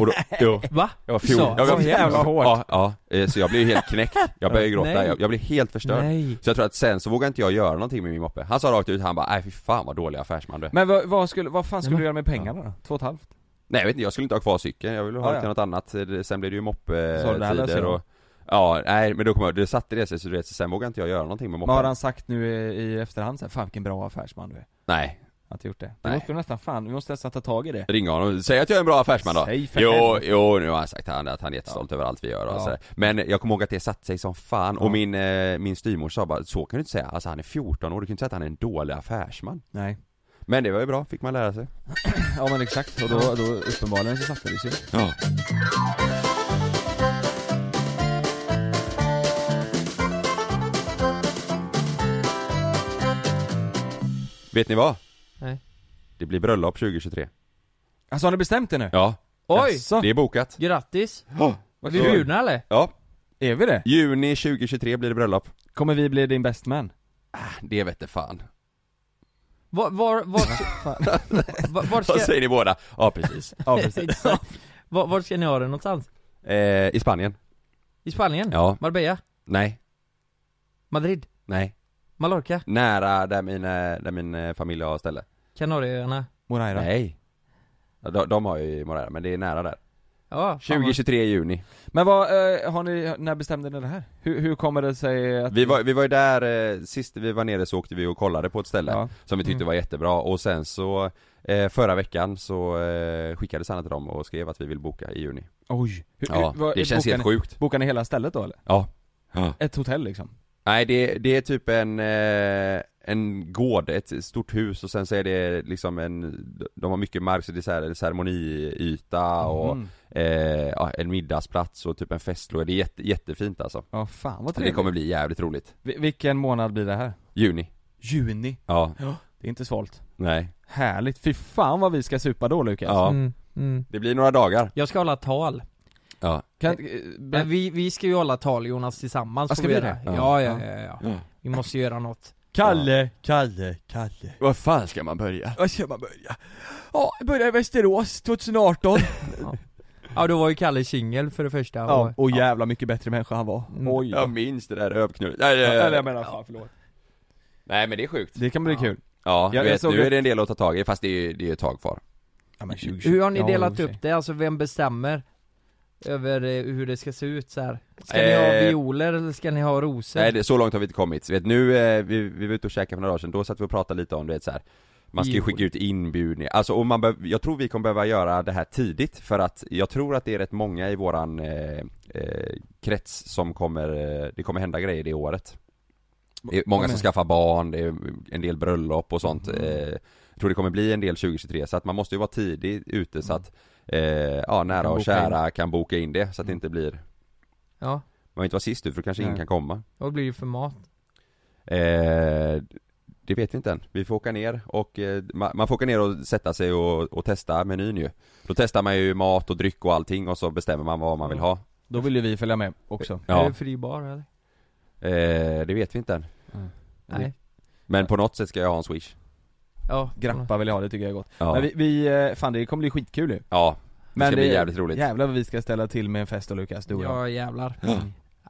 Speaker 6: Och då, jo,
Speaker 8: Va?
Speaker 6: jag var
Speaker 8: Så?
Speaker 6: fjol, jag var
Speaker 8: Så jävla hårt.
Speaker 6: Ja, ja, eh, så jag blev ju helt knäckt, jag började
Speaker 8: Ja.
Speaker 6: gråta,
Speaker 8: Nej.
Speaker 6: jag, jag blev helt förstörd
Speaker 8: Nej.
Speaker 6: så jag tror att sen så vågade inte jag göra någonting med min moppe. Han sa rakt ut, han bara 'Nej fy fan vad dålig affärsman du är."
Speaker 7: Men vad, vad, skulle, vad fan skulle
Speaker 8: men-
Speaker 7: du göra med pengarna då? Två och ett halvt?
Speaker 6: Nej jag vet inte, jag skulle inte ha kvar cykeln, jag ville ha
Speaker 7: Ah,
Speaker 6: det
Speaker 7: ja.
Speaker 6: till något annat. Eh, Det- Sen blev det ju
Speaker 7: Så det här löser
Speaker 6: moppetider
Speaker 7: jag.
Speaker 6: och Ja, nej men då kommer jag, det satte det sig så du vet, så sen vågade inte jag göra någonting med
Speaker 7: Men har
Speaker 6: moppen.
Speaker 7: han sagt nu i, i efterhand så här, fan vilken bra affärsman du är?
Speaker 6: Nej,
Speaker 7: Att du gjort det? Vi
Speaker 6: Nej.
Speaker 7: måste nästan fan, vi måste nästan ta tag i det
Speaker 6: ringa honom, säg att jag är en bra affärsman då.
Speaker 7: Säg för
Speaker 6: Jo,
Speaker 7: helvete.
Speaker 6: jo nu har han sagt han, att han är jättestolt över allt vi gör och
Speaker 7: Ja.
Speaker 6: sådär. Men jag kommer ihåg att det satte sig som fan och
Speaker 7: Ja.
Speaker 6: min, eh, min styvmor sa bara, så kan du inte säga, alltså han är 14 år, du kan inte säga att han är en dålig affärsman.
Speaker 7: Nej
Speaker 6: Men det var ju bra, fick man lära sig.
Speaker 7: Ja men exakt, och då, då uppenbarligen så satte det sig
Speaker 6: Ja. Vet ni vad?
Speaker 8: Nej.
Speaker 6: Det blir bröllop 2023.
Speaker 7: Alltså har ni bestämt det nu?
Speaker 6: Ja,
Speaker 8: Oj!
Speaker 7: Jaså?
Speaker 6: det är bokat.
Speaker 8: Grattis!
Speaker 7: Vart
Speaker 8: Blir vi bjudna eller?
Speaker 6: Ja,
Speaker 7: Är vi det?
Speaker 6: juni 2023 blir det bröllop.
Speaker 7: Kommer vi bli din best man?
Speaker 6: Det vette fan.
Speaker 8: Var, var, vart- var, var,
Speaker 6: Vad
Speaker 8: ska,
Speaker 6: säger ni båda? Ja, precis.
Speaker 7: Ja precis
Speaker 8: var, var ska ni ha det någonstans?
Speaker 6: Eh, I Spanien?
Speaker 8: I Spanien?
Speaker 6: Ja.
Speaker 8: Marbella?
Speaker 6: Nej.
Speaker 8: Madrid?
Speaker 6: Nej.
Speaker 8: Mallorca?
Speaker 6: Nära där min, eh, där min eh, familj har ställe.
Speaker 8: Kanarieöarna?
Speaker 7: Moraira?
Speaker 6: Nej. Ja, De, de har ju Morera, men det är nära där.
Speaker 8: Ja, fan vad-
Speaker 6: 2023 i juni.
Speaker 7: Men vad, eh, har ni, när bestämde ni det här? Hur, hur kommer det sig att
Speaker 6: Vi var, vi var ju där, eh, sist vi var nere så åkte vi och kollade på ett ställe
Speaker 7: Ja.
Speaker 6: som vi tyckte
Speaker 8: Mm.
Speaker 6: var jättebra och sen så eh, Förra veckan så eh, skickades han till dem och skrev att vi vill boka i juni
Speaker 7: Oj! Hur,
Speaker 6: Ja,
Speaker 7: hur, vad,
Speaker 6: det känns
Speaker 7: bokar
Speaker 6: helt
Speaker 7: ni,
Speaker 6: sjukt
Speaker 7: Bokar ni hela stället då eller?
Speaker 6: Ja, ja.
Speaker 7: Ett hotell liksom?
Speaker 6: Nej det, det är typ en, eh, en gård, ett stort hus och sen så är det liksom en De har mycket mark så det är så här ceremoniyta och
Speaker 7: Mhm.
Speaker 6: eh, ja, en middagsplats och typ en festlåda, det är jätte, jättefint alltså
Speaker 7: Ja fan vad
Speaker 6: Det
Speaker 7: trevligt
Speaker 6: kommer bli jävligt roligt
Speaker 7: Vi- Vilken månad blir det här?
Speaker 6: Juni,
Speaker 7: Juni
Speaker 6: ja,
Speaker 7: Det är inte svalt
Speaker 6: nej,
Speaker 7: Härligt, fy fan vad vi ska supa då Lukas
Speaker 6: ja
Speaker 8: Mm, mm.
Speaker 6: Det blir några dagar,
Speaker 8: Jag ska hålla tal.
Speaker 6: ja
Speaker 7: Kan,
Speaker 8: Men vi, vi ska ju hålla tal Jonas tillsammans
Speaker 7: Ah,
Speaker 8: får
Speaker 7: ska
Speaker 8: vi
Speaker 7: vi
Speaker 8: göra.
Speaker 7: det?
Speaker 8: Ja, ja,
Speaker 7: Ja.
Speaker 8: ja, ja, ja. Vi måste göra något.
Speaker 7: Kalle, Kalle, Kalle
Speaker 6: Var fan ska man börja?
Speaker 7: Var ska man börja? Ja, börja i Västerås 2018
Speaker 8: Ja, då var ju Kalle singel för det första.
Speaker 7: Ja,
Speaker 8: och-
Speaker 7: och jävla mycket bättre människa han var
Speaker 8: Mm.
Speaker 7: Oj
Speaker 6: Jag minns det där rövknullet, nej, nej,
Speaker 7: Eller
Speaker 6: nej,
Speaker 7: jag menar, fan förlåt
Speaker 6: nej men det är sjukt
Speaker 7: Det kan bli
Speaker 8: Ja.
Speaker 7: kul
Speaker 6: Ja,
Speaker 7: Jag-
Speaker 6: du
Speaker 7: jag
Speaker 6: vet,
Speaker 7: såg
Speaker 6: nu
Speaker 7: ett-
Speaker 6: är det en del att ta tag i fast det är ju det är ju ett tag kvar
Speaker 7: ja, men
Speaker 8: Hur har ni
Speaker 7: Ja, i och
Speaker 8: delat
Speaker 7: för sig.
Speaker 8: upp det? Alltså vem bestämmer? Över eh, hur det ska se ut så här. Ska ni ha
Speaker 6: Eh,
Speaker 8: violer eller ska ni ha rosor?
Speaker 6: Nej det, så långt har vi inte kommit, Så vet nu, eh, vi, vi var ute och käkade för några dagar sedan, då satt vi och pratade lite om du vet så här. Man ska ju
Speaker 8: Jo.
Speaker 6: skicka ut inbjudningar, alltså och man behöv, jag tror vi kommer behöva göra det här tidigt för att jag tror att det är rätt många i våran eh, eh, krets som kommer, eh, det kommer hända grejer det året Det är många
Speaker 7: Vad
Speaker 6: som
Speaker 7: menar-
Speaker 6: skaffar barn, det är en del bröllop och sånt
Speaker 7: Mm.
Speaker 6: eh, Jag tror det kommer bli en del 2023 så att man måste ju vara tidig ute så att eh, ja, nära
Speaker 7: Mm. Kan
Speaker 6: och
Speaker 7: boka
Speaker 6: kära kan boka in det så att det
Speaker 7: Mm.
Speaker 6: inte blir
Speaker 8: Ja,
Speaker 6: Man vill inte vara sist ut för då kanske ingen
Speaker 7: Nej.
Speaker 6: kan komma
Speaker 8: vad blir det för mat?
Speaker 6: Eh, det vet vi inte än. Vi får åka ner och eh, ma- man får åka ner och sätta sig och, och testa menyn ju. Då testar man ju mat och dryck och allting och så bestämmer man vad man vill ha.
Speaker 7: Då vill ju vi följa med också Eh,
Speaker 8: Är
Speaker 6: Ja,
Speaker 8: det fri bar eller?
Speaker 6: eh, det vet vi inte än.
Speaker 7: Nej.
Speaker 8: Nej.
Speaker 6: Men på något sätt ska jag ha en swish.
Speaker 8: Ja.
Speaker 7: Grappa vill jag ha, det tycker jag är gott
Speaker 6: Ja,
Speaker 7: Men vi, vi, eh, fan det kommer bli skitkul ju
Speaker 6: ja. det
Speaker 7: Men
Speaker 6: ska bli jävligt roligt.
Speaker 7: Jävlar vad vi ska ställa till med en fest då Lukas, du och jag
Speaker 8: Ja jävlar.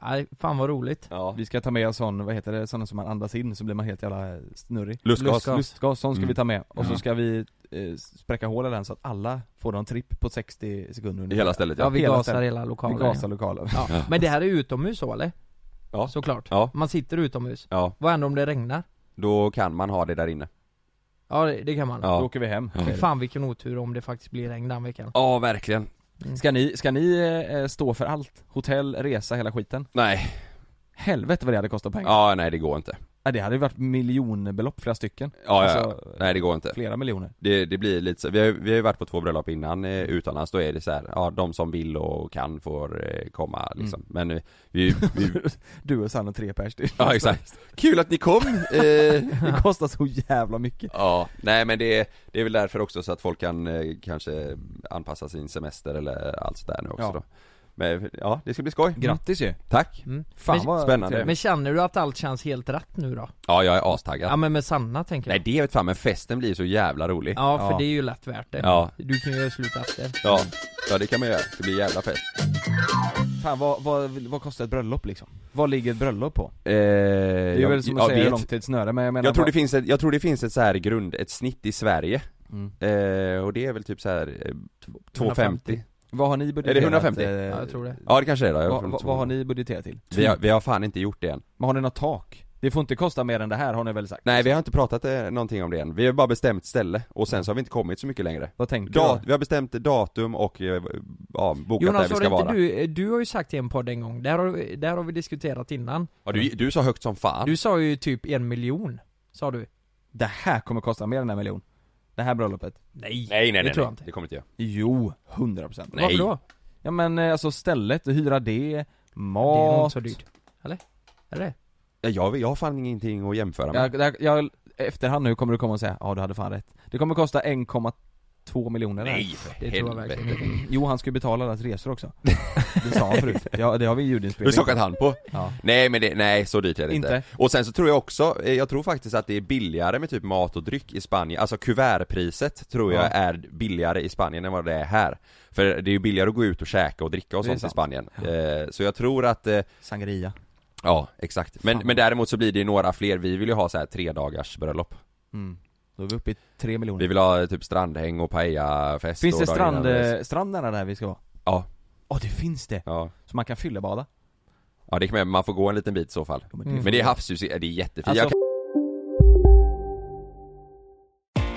Speaker 8: Nej, fan vad roligt.
Speaker 6: Ja.
Speaker 7: Vi ska ta med en sån, vad heter det, sån som man andas in så blir man helt jävla snurrig
Speaker 6: Lustgas.
Speaker 7: Lustgas, sån ska
Speaker 6: Mm.
Speaker 7: vi ta med och
Speaker 8: Ja.
Speaker 7: så ska vi eh, spräcka hål i den så att alla får någon tripp på 60 sekunder
Speaker 6: I
Speaker 7: under
Speaker 6: hela stället
Speaker 8: Ja
Speaker 6: ja.
Speaker 8: vi
Speaker 7: hela
Speaker 8: gasar
Speaker 7: stället.
Speaker 8: hela lokalen.
Speaker 7: Vi gasar lokalen
Speaker 8: Ja. Ja. Men det här är utomhus så eller?
Speaker 6: Ja.
Speaker 8: Såklart.
Speaker 6: Ja.
Speaker 8: Man sitter utomhus.
Speaker 6: ja.
Speaker 8: Vad händer om det regnar?
Speaker 6: Då kan man ha det där inne.
Speaker 8: Ja det, det kan man.
Speaker 7: Då
Speaker 6: Ja.
Speaker 7: åker vi hem
Speaker 8: Fy fan vilken otur om det faktiskt blir regn den veckan.
Speaker 6: Ja, verkligen.
Speaker 7: Ska ni, ska ni eh, stå för allt? Hotell, resa, hela skiten?
Speaker 6: Nej.
Speaker 7: Helvete vad det hade kostat pengar
Speaker 6: Ja, nej det går inte.
Speaker 7: Ja, det hade ju varit miljonbelopp, flera stycken
Speaker 6: Ja, ja,
Speaker 7: Alltså,
Speaker 6: ja. nej det går inte
Speaker 7: Flera miljoner
Speaker 6: det, det blir lite så, vi har, vi har ju varit på två bröllop innan eh, utomlands, då är det så här, ja de som vill och kan får eh, komma liksom Men eh, vi, vi
Speaker 7: Du och Sanna tre pers det-
Speaker 6: Ja exakt, kul att ni kom! Eh,
Speaker 7: Det kostar så jävla mycket
Speaker 6: ja, nej men det, det är väl därför också så att folk kan eh, kanske anpassa sin semester eller allt sådär nu också
Speaker 7: Ja.
Speaker 6: då Men ja, det ska bli skoj!
Speaker 7: Grattis ju!
Speaker 6: Tack!
Speaker 8: Mm.
Speaker 7: Fan
Speaker 8: Men-
Speaker 7: vad
Speaker 6: Spännande.
Speaker 7: trevligt.
Speaker 8: Men känner du att allt känns helt rätt nu då?
Speaker 6: Ja jag är astaggad!
Speaker 8: Ja men med Sanna tänker jag
Speaker 6: Nej det vet fan men festen blir så jävla rolig! Ja,
Speaker 8: Ja för
Speaker 7: Ja.
Speaker 8: det är ju lätt värt det
Speaker 6: Ja.
Speaker 8: Du kan ju göra slut efter
Speaker 6: ja, det kan man göra, det blir jävla fest
Speaker 7: Fan vad, vad, vad kostar ett bröllop liksom? Vad ligger ett bröllop på?
Speaker 6: eh,
Speaker 7: Det är väl som att säga hur lång tid snöre men jag menar
Speaker 6: Jag tror,
Speaker 7: vad-
Speaker 6: det finns ett, jag tror det finns ett så här grund, ett snitt i Sverige
Speaker 8: Mm.
Speaker 6: eh, Och det är väl typ så här eh, t- 250
Speaker 7: Vad har ni budgeterat?
Speaker 6: 150?
Speaker 7: eh,
Speaker 8: Ja jag tror det
Speaker 6: Ja det kanske det är då, jag
Speaker 7: vad,
Speaker 6: tror
Speaker 7: vad,
Speaker 6: inte
Speaker 7: vad har
Speaker 6: så-
Speaker 7: ni budgeterat till?
Speaker 6: vi har, vi har fan inte gjort det än
Speaker 7: Men har ni något tak? Det får inte kosta mer än det här har ni väl sagt?
Speaker 6: Nej vi har inte pratat eh, någonting om det än, vi har bara bestämt ställe och sen så har vi inte kommit så mycket längre
Speaker 7: Vad tänker
Speaker 6: da,
Speaker 7: du?
Speaker 6: Vi har bestämt datum och eh, ja, bokat
Speaker 8: Jonas
Speaker 6: där
Speaker 8: har
Speaker 6: vi ska
Speaker 8: inte
Speaker 6: vara
Speaker 8: du, du har ju sagt i en podd en gång, där har, där har vi diskuterat innan
Speaker 6: ja, du, du sa högt som fan
Speaker 8: Du sa ju typ en miljon, sa du
Speaker 7: Det här kommer kosta mer än en miljon Det här bröllopet?
Speaker 8: Nej,
Speaker 6: Nej nej nej,
Speaker 8: det
Speaker 6: nej.
Speaker 8: tror jag inte
Speaker 6: det kommer inte jag
Speaker 7: Jo, 100% procent
Speaker 6: Nej.
Speaker 8: Varför då?
Speaker 7: Ja men eh, alltså stället, hyra det,
Speaker 8: Det
Speaker 7: mat
Speaker 8: är nog inte så dyrt, eller? Är det?
Speaker 6: Ja, jag, jag har fan ingenting att jämföra med
Speaker 7: Jag, jag, jag, efterhand nu kommer du komma och säga ja du hade fan rätt Det kommer kosta 1,2 miljoner det här.
Speaker 6: Nej för
Speaker 8: Det tror jag verkligen
Speaker 6: helvete
Speaker 7: Jo han ska ju betala deras resor också Det sa han förut, ja, det har vi i
Speaker 6: Du
Speaker 7: ljudinspelning
Speaker 6: skakade hand på?
Speaker 7: Ja.
Speaker 6: Nej men det, nej så dyrt är det inte.
Speaker 7: Inte?
Speaker 6: Och sen så tror jag också, eh, jag tror faktiskt att det är billigare med typ mat och dryck i Spanien, alltså kuvertpriset tror jag
Speaker 7: Ja.
Speaker 6: är billigare i Spanien än vad det är här. För det är ju billigare att gå ut och käka och dricka och
Speaker 7: Det är
Speaker 6: sånt i
Speaker 7: sant.
Speaker 6: Spanien. Eh, Så jag tror att, eh,
Speaker 7: Sangria
Speaker 6: ja exakt. Men,
Speaker 7: Fan.
Speaker 6: men däremot så blir det ju några fler, vi vill ju ha så här tre dagars bröllop.
Speaker 7: mm. Då är vi uppe i 3 miljoner
Speaker 6: Vi vill ha eh, typ strandhäng och paellafest
Speaker 7: Finns
Speaker 6: och
Speaker 7: det
Speaker 6: dagen
Speaker 7: strand,
Speaker 6: innan
Speaker 7: eh, strand nära där vi ska vara?
Speaker 6: Ja.
Speaker 7: Ja det finns det!
Speaker 6: Ja.
Speaker 7: Så man kan fyllebada?
Speaker 6: ja, det kan man, man får gå en liten bit i så fall.
Speaker 8: Mm.
Speaker 6: Men det är havsljus, det är jättefint.
Speaker 7: Alltså-
Speaker 6: Jag kan-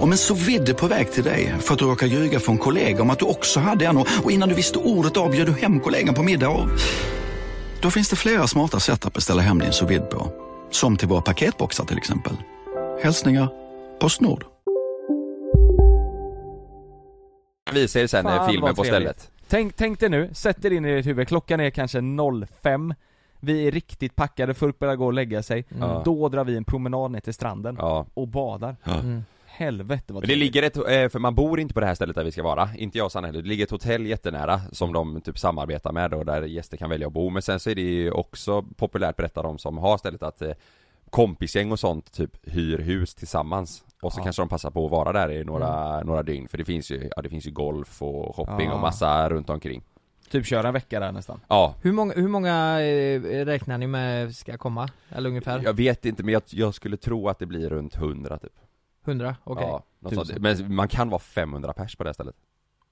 Speaker 10: Om en så vidde på väg till dig för att du råkar ljuga från kollega om att du också hade en och och innan du visste ordet av bjöd du hem kollegan på middag och... Då finns det flera smarta sätt att beställa hem din sous vide på. Som till våra paketboxar till exempel. Hälsningar Postnord.
Speaker 6: visa er sen eh,
Speaker 7: Fan,
Speaker 6: filmen
Speaker 7: vad
Speaker 6: på
Speaker 7: trevligt.
Speaker 6: stället.
Speaker 7: Tänk, tänk dig nu, sätt er in i ert huvud, klockan är kanske 05 Vi är riktigt packade, folk börjar gå och lägga sig
Speaker 6: Mm.
Speaker 7: Då drar vi en promenad ner till stranden
Speaker 6: Ja.
Speaker 7: och badar
Speaker 6: Ja. Mm.
Speaker 7: Helvete vad
Speaker 6: Men det ligger ett, eh, för man bor inte på det här stället där vi ska vara, inte jag och Sanna heller. Det ligger ett hotell jättenära som de typ samarbetar med och där gäster kan välja att bo. Men sen så är det ju också populärt berättar de som har stället att eh, kompisgäng och sånt typ hyr hus tillsammans. Och så
Speaker 7: Ja. Mm.
Speaker 6: kanske de passar på att vara där i några, några dygn för det finns ju, ja det finns ju golf och shopping
Speaker 7: Ja.
Speaker 6: och massa runt omkring.
Speaker 7: Typ köra en vecka där nästan
Speaker 6: Ja.
Speaker 8: Hur många, hur många eh, räknar ni med ska komma? Eller ungefär?
Speaker 6: Jag vet inte men jag, jag skulle tro att det blir runt 100 typ.
Speaker 8: 100? Okej
Speaker 6: Ja, något sånt.
Speaker 8: Tusen.
Speaker 6: Men man kan vara 500 pers på det här stället.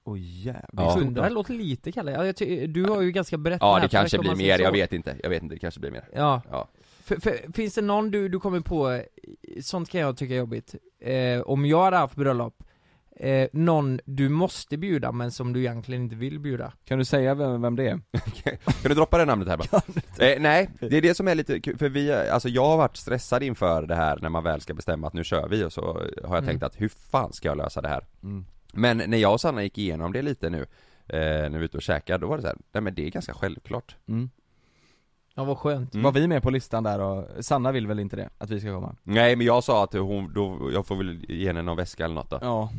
Speaker 7: Åh jävlar
Speaker 6: Ja.
Speaker 8: 100 låter lite Kalle, ja, jag ty- du har ju ganska brett
Speaker 6: Ja det
Speaker 8: nätverk,
Speaker 6: kanske
Speaker 8: om
Speaker 6: blir
Speaker 8: man
Speaker 6: mer,
Speaker 8: säger
Speaker 6: jag
Speaker 8: så.
Speaker 6: vet inte, jag vet inte, det kanske blir mer
Speaker 8: Ja.
Speaker 6: Ja,
Speaker 8: För, för, finns det någon du, du kommer på, eh, sånt kan jag tycka är jobbigt, eh, om jag hade haft bröllop, eh, någon du måste bjuda men som du egentligen inte vill bjuda?
Speaker 7: Kan du säga vem, vem det är?
Speaker 6: Mm. Kan du droppa det namnet här bara? Eh, nej, det är det som är lite kul, för vi, alltså jag har varit stressad inför det här när man väl ska bestämma att nu kör vi och så har jag
Speaker 7: Mm.
Speaker 6: tänkt att hur fan ska jag lösa det här?
Speaker 8: Mm.
Speaker 6: Men när jag och Sanna gick igenom det lite nu, eh, när vi var ute och käkade, då var det så här, nej men det är ganska självklart
Speaker 7: Mm.
Speaker 8: Ja vad skönt
Speaker 7: Var vi med på listan där och Sanna vill väl inte det? Att vi ska komma?
Speaker 6: Nej men jag sa att hon, då, jag får väl ge henne någon väska eller något då
Speaker 7: Ja,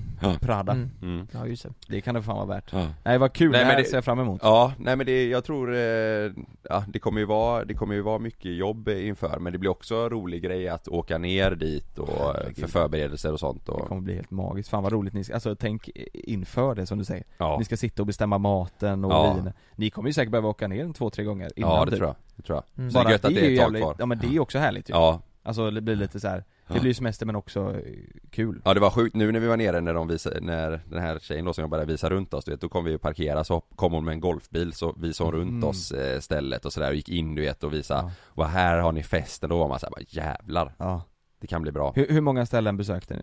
Speaker 7: Prada
Speaker 6: Mm.
Speaker 8: Ja just det
Speaker 7: Det kan det fan vara värt
Speaker 6: Ja.
Speaker 7: Nej vad kul, det här
Speaker 6: det-
Speaker 7: ser jag fram emot
Speaker 6: Ja, nej men det, jag tror, eh, ja, det kommer ju vara, det kommer ju vara mycket jobb inför men det blir också en rolig grej att åka ner dit och eh, för förberedelser och sånt och
Speaker 7: Det kommer bli helt magiskt, fan vad roligt ni ska, alltså tänk inför det som du säger
Speaker 6: Ja.
Speaker 7: Ni ska sitta och bestämma maten och
Speaker 6: Ja.
Speaker 7: vin Ni kommer ju säkert behöva åka ner en två, tre gånger innan
Speaker 6: Ja det
Speaker 7: typ.
Speaker 6: tror jag, det tror jag.
Speaker 7: Mm.
Speaker 6: Så det är
Speaker 7: Bara
Speaker 6: gött att det är
Speaker 7: ju
Speaker 6: ett tag
Speaker 7: jävligt-
Speaker 6: kvar Mm.
Speaker 7: Ja men det är ju också härligt ju
Speaker 6: Ja.
Speaker 7: Alltså det blir lite så här. det
Speaker 6: Ja.
Speaker 7: blir ju semester men också eh, kul
Speaker 6: Ja det var sjukt, nu när vi var nere när de visade, när den här tjejen då som jag började visa runt oss du vet, då kom vi ju parkera så hopp- kom hon med en golfbil så visade hon runt
Speaker 7: Mm.
Speaker 6: oss eh, stället och sådär och gick in du vet och visade, vad här har ni festen, då var man såhär bara jävlar
Speaker 7: Ja.
Speaker 6: Det kan bli bra
Speaker 7: hur, hur många ställen besökte ni?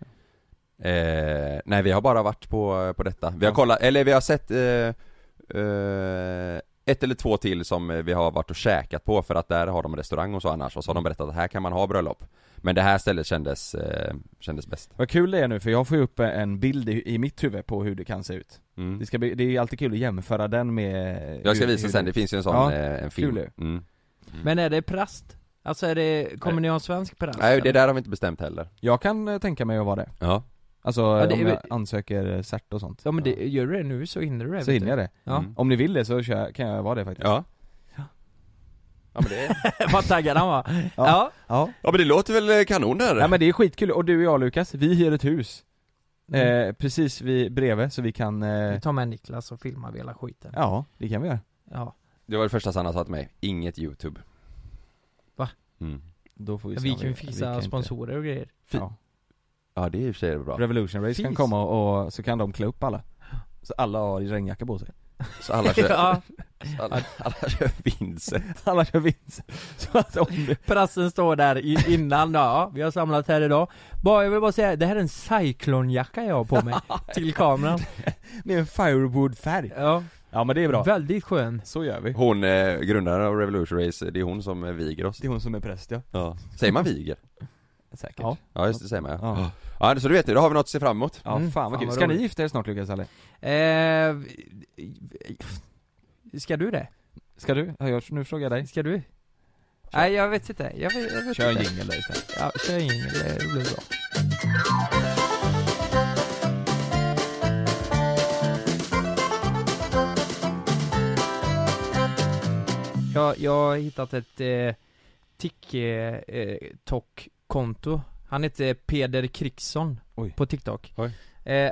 Speaker 6: eh, Nej vi har bara varit på, på detta, vi har kollat, eller vi har sett eh, eh, ett eller två till som eh, vi har varit och käkat på för att där har de restaurang och så annars och så har de berättat att här kan man ha bröllop Men det här stället kändes, eh, kändes bäst
Speaker 7: Vad kul det är nu för jag får ju upp en bild i, i mitt huvud på hur det kan se ut
Speaker 8: Mm.
Speaker 7: det, ska bli, det är ju alltid kul att jämföra den med
Speaker 6: Jag ska
Speaker 7: Mm. hur-
Speaker 6: visa
Speaker 7: hur
Speaker 6: sen, det finns ju en sån
Speaker 7: Ja,
Speaker 6: eh, en film
Speaker 7: kul ju.
Speaker 6: Mm.
Speaker 8: Men är det präst? Alltså är det, kommer ni ha en svensk präst?
Speaker 6: Nej det
Speaker 8: eller?
Speaker 6: där har vi inte bestämt heller Mm.
Speaker 7: Jag kan eh, tänka mig att vara det
Speaker 6: Ja
Speaker 7: Alltså
Speaker 8: Ja, det
Speaker 7: om
Speaker 8: är
Speaker 7: jag
Speaker 8: väl-
Speaker 7: ansöker eh, cert och sånt
Speaker 8: Ja men det, gör du det nu så hinner du det
Speaker 7: Så
Speaker 8: vet
Speaker 7: hinner
Speaker 8: du.
Speaker 7: jag det. Mm.
Speaker 8: Ja
Speaker 7: Om ni vill det så kör, kan jag vara det faktiskt
Speaker 6: Ja Ja men det
Speaker 8: Vad taggad han var
Speaker 7: Ja Ja,
Speaker 6: ja men det låter väl eh, kanon där
Speaker 7: Ja men det är skitkul, och du och jag Lukas, vi hyr ett hus eh, Precis vid, bredvid så vi kan eh,
Speaker 8: Mm. Vi tar med Niklas och filmar hela skiten
Speaker 7: Ja, det kan vi göra
Speaker 8: Ja,
Speaker 6: Det var det första Sanna sa till mig, inget youtube
Speaker 8: Va?
Speaker 6: Mm.
Speaker 7: Då får vi
Speaker 8: vi,
Speaker 7: se om
Speaker 8: kan ju
Speaker 7: vi kan
Speaker 8: fixa
Speaker 7: inte-
Speaker 8: sponsorer och grejer
Speaker 7: Ja.
Speaker 6: Ja det är i och för sig bra
Speaker 7: Revolution Race kan
Speaker 8: Fis.
Speaker 7: komma och, och så kan de klä upp alla Så alla har regnjacka på sig
Speaker 6: Så alla kör,
Speaker 8: Ja.
Speaker 6: så alla, alla kör Vincent
Speaker 7: Alla kör Vincent Så att om du...
Speaker 8: Prassen står där i, innan då, ja, vi har samlat här idag bara, Jag vill bara säga, det här är en cyclonjacka jag har på mig till kameran
Speaker 7: Det är en firewood-färg
Speaker 8: Ja
Speaker 7: Ja men det är bra
Speaker 8: Väldigt skön
Speaker 7: Så gör vi
Speaker 6: Hon, eh, grundaren av Revolution Race, det är hon som eh, viger oss
Speaker 7: Det är hon som är präst ja
Speaker 6: Ja, säger man viger?
Speaker 7: Säkert
Speaker 8: Ja.
Speaker 6: Ja just det, säger man ja Ja, så du vet det, då har vi något att se fram emot
Speaker 7: Ja
Speaker 8: Mm,
Speaker 7: fan
Speaker 8: fan
Speaker 7: vad kul,
Speaker 8: vad
Speaker 7: ska ni
Speaker 8: roligt.
Speaker 7: gifta er snart Lukas eller?
Speaker 8: eh, Ska du det?
Speaker 7: Ska du? Har jag, nu frågar jag dig
Speaker 8: Ska du? Nej jag vet inte, jag vet, jag vet
Speaker 7: Kör en
Speaker 8: inte
Speaker 7: jingel där istället
Speaker 8: Ja, kör en jingel, det blir bra Jag, jag har hittat ett eh, TikTok-konto Han heter Peder Kriksson
Speaker 7: Oj.
Speaker 8: på TikTok
Speaker 6: Oj.
Speaker 8: eh,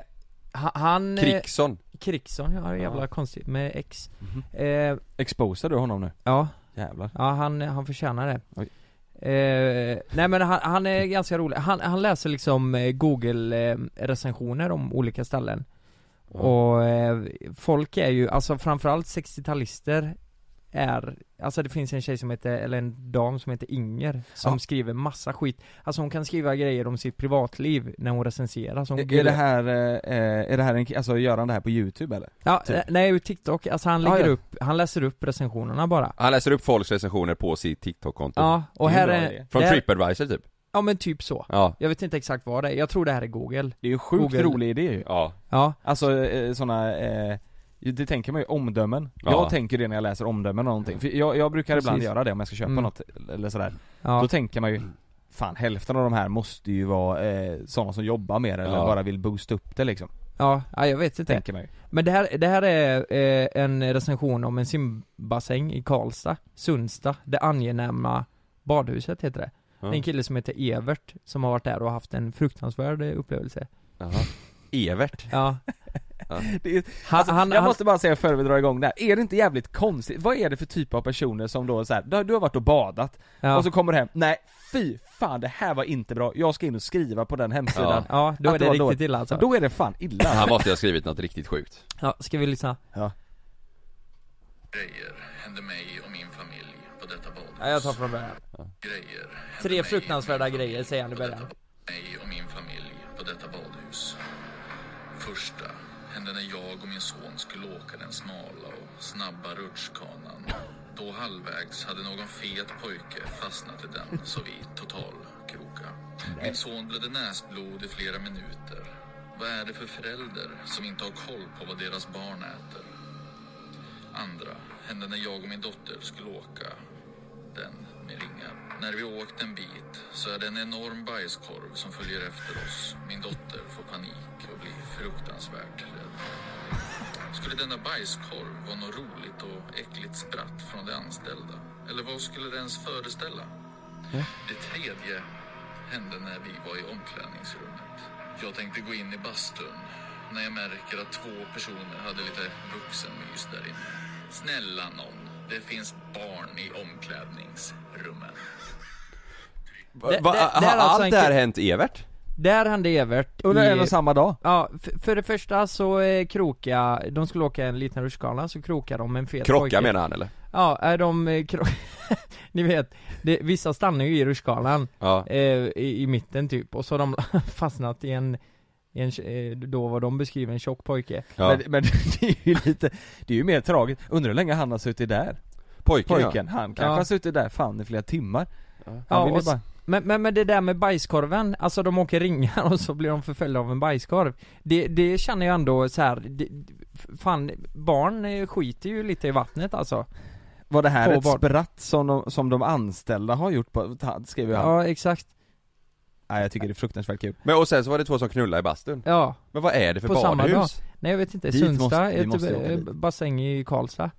Speaker 8: ha- Han... eh,
Speaker 6: Kriksson
Speaker 8: Kriksson, ja, jävla
Speaker 7: Ja. Mhm.
Speaker 8: konstigt med X eh,
Speaker 7: Exposar du honom nu?
Speaker 8: Ja
Speaker 7: Jävlar
Speaker 8: Ja, han, han förtjänar det.
Speaker 7: Oj.
Speaker 8: Eh, nej men han, han är ganska rolig. Han, han läser liksom eh, google-recensioner om olika ställen. Och eh, folk är ju, alltså framförallt 60-talister är, alltså det finns en tjej som heter, eller en dam som heter Inger som
Speaker 7: Ja.
Speaker 8: skriver massa skit. Alltså hon kan skriva grejer om sitt privatliv när hon recenserar. Så hon
Speaker 7: Är är det här, eh, är det här en, alltså gör han det här på youtube eller?
Speaker 8: Ja,
Speaker 7: typ?
Speaker 8: eh, nej TikTok, alltså han
Speaker 7: Ja,
Speaker 8: lägger
Speaker 7: ja.
Speaker 8: upp, han läser upp recensionerna bara.
Speaker 6: Han läser upp folks recensioner på sitt TikTok-konto
Speaker 8: Ja, och
Speaker 7: Det är
Speaker 8: här
Speaker 7: bra
Speaker 8: är...
Speaker 7: idé.
Speaker 6: Från
Speaker 8: det här-
Speaker 6: Tripadvisor typ
Speaker 8: Ja men typ så.
Speaker 6: Ja,
Speaker 8: Jag vet inte exakt vad det är, jag tror det här är Google
Speaker 7: Det är ju en sjukt
Speaker 8: Google.
Speaker 7: rolig idé ju
Speaker 6: ja,
Speaker 8: Ja,
Speaker 7: Alltså eh, såna, eh, det tänker man ju, omdömen
Speaker 6: Ja.
Speaker 7: Jag tänker det när jag läser omdömen eller någonting, för jag, jag brukar ibland
Speaker 8: Precis.
Speaker 7: göra det om jag ska köpa
Speaker 8: Mm.
Speaker 7: något eller sådär
Speaker 8: ja,
Speaker 7: Då tänker man ju Fan hälften av de här måste ju vara eh, sådana som jobbar med det eller
Speaker 6: Ja.
Speaker 7: bara vill boosta upp det liksom
Speaker 8: ja, ja jag vet inte
Speaker 7: Tänker man ju
Speaker 8: Men det här, det här är eh, en recension om en simbassäng i Karlstad, Sundsta, det angenäma badhuset heter det Det är en kille som heter Evert som har varit där och haft en fruktansvärd eh, upplevelse
Speaker 6: Jaha. Evert
Speaker 8: Ja,
Speaker 7: det är, alltså,
Speaker 8: han, han,
Speaker 7: Jag
Speaker 8: han,
Speaker 7: måste bara säga före vi drar igång det här, är det inte jävligt konstigt? Vad är det för typ av personer som då så här, du, har- du har varit och badat,
Speaker 8: ja,
Speaker 7: och så kommer du hem, nej fy fan det här var inte bra, jag ska in och skriva på den hemsidan
Speaker 8: ja då är det
Speaker 7: Att det var
Speaker 8: riktigt
Speaker 7: dåligt.
Speaker 8: illa alltså
Speaker 7: Då är det fan illa
Speaker 6: Han måste ju ha skrivit något riktigt sjukt
Speaker 8: Ja, ska vi lyssna?
Speaker 7: Ja.
Speaker 11: Grejer hände mig och min familj på detta badhus.
Speaker 8: Ja, jag tar från början
Speaker 11: Grejer hände
Speaker 8: Tre
Speaker 11: mig-
Speaker 8: fruktansvärda grejer säger han i början
Speaker 11: mig och min familj på detta badhus. Första hände när jag och min son skulle åka den smala och snabba rutschkanan. Då halvvägs hade någon fet pojke fastnat i den så vi totalkroka. Min son blödde näsblod i flera minuter. Vad är det för förälder som inte har koll på vad deras barn äter? Andra hände när jag och min dotter skulle åka
Speaker 12: När vi åkt en bit så är det en enorm bajskorv som följer efter oss. Min dotter får panik och blir fruktansvärt rädd. Skulle denna bajskorv vara något roligt och äckligt spratt från de anställda? Eller vad skulle det ens föreställa? Det tredje hände när vi var i omklädningsrummet. Jag tänkte gå in i bastun när jag märker att två personer hade lite vuxenmys där inne. Snälla någon, det finns barn i omklädningsrummen.
Speaker 6: Va,
Speaker 8: Det-
Speaker 6: va,
Speaker 8: det-
Speaker 6: har
Speaker 8: det är alltså
Speaker 6: allt
Speaker 8: en
Speaker 6: det här
Speaker 8: ki-
Speaker 6: hänt Evert?
Speaker 8: Där hände Evert
Speaker 7: Under
Speaker 8: i-
Speaker 7: en och samma dag?
Speaker 8: Ja, f- för det första så eh, kroka de skulle åka en liten rutschkana så krokar de en fet
Speaker 6: Krocka
Speaker 8: pojke.
Speaker 6: menar han, eller?
Speaker 8: Ja, är de eh, kro- Ni vet, det, vissa stannar ju i rutschkanan
Speaker 6: Ja.
Speaker 8: eh, i, i mitten typ och så har de fastnat i en, i en eh, då vad de beskriver en tjock pojke
Speaker 7: Ja. Men, men det är ju lite, det är ju mer tragiskt. Undrar hur länge han har suttit där?
Speaker 6: Pojken,
Speaker 8: ja.
Speaker 7: han kanske
Speaker 8: Ja.
Speaker 7: har suttit där fan i flera timmar. Han
Speaker 8: Ja,
Speaker 7: ville
Speaker 8: och,
Speaker 7: bara...
Speaker 8: s- men, men, men det där med bajskorven, alltså de åker ringar och så blir de förföljda av en bajskorv Det, det känner jag ändå så här. Det, fan, barn eh, skiter ju lite i vattnet alltså
Speaker 7: Var det här
Speaker 8: På
Speaker 7: ett
Speaker 8: barn.
Speaker 7: spratt som de, som de anställda har gjort på, ta- skrev ju han.
Speaker 8: Ja, exakt
Speaker 7: Nej jag tycker det är fruktansvärt kul.
Speaker 6: Men och sen så var det två som knullade i bastun?
Speaker 8: Ja
Speaker 6: Men vad är det för
Speaker 8: På samma
Speaker 6: badhus?
Speaker 8: dag. Nej jag vet inte,
Speaker 6: Dit måste-
Speaker 8: Sundsta,
Speaker 6: vi måste åka
Speaker 8: ett
Speaker 6: dit.
Speaker 8: eh, bassäng i Karlstad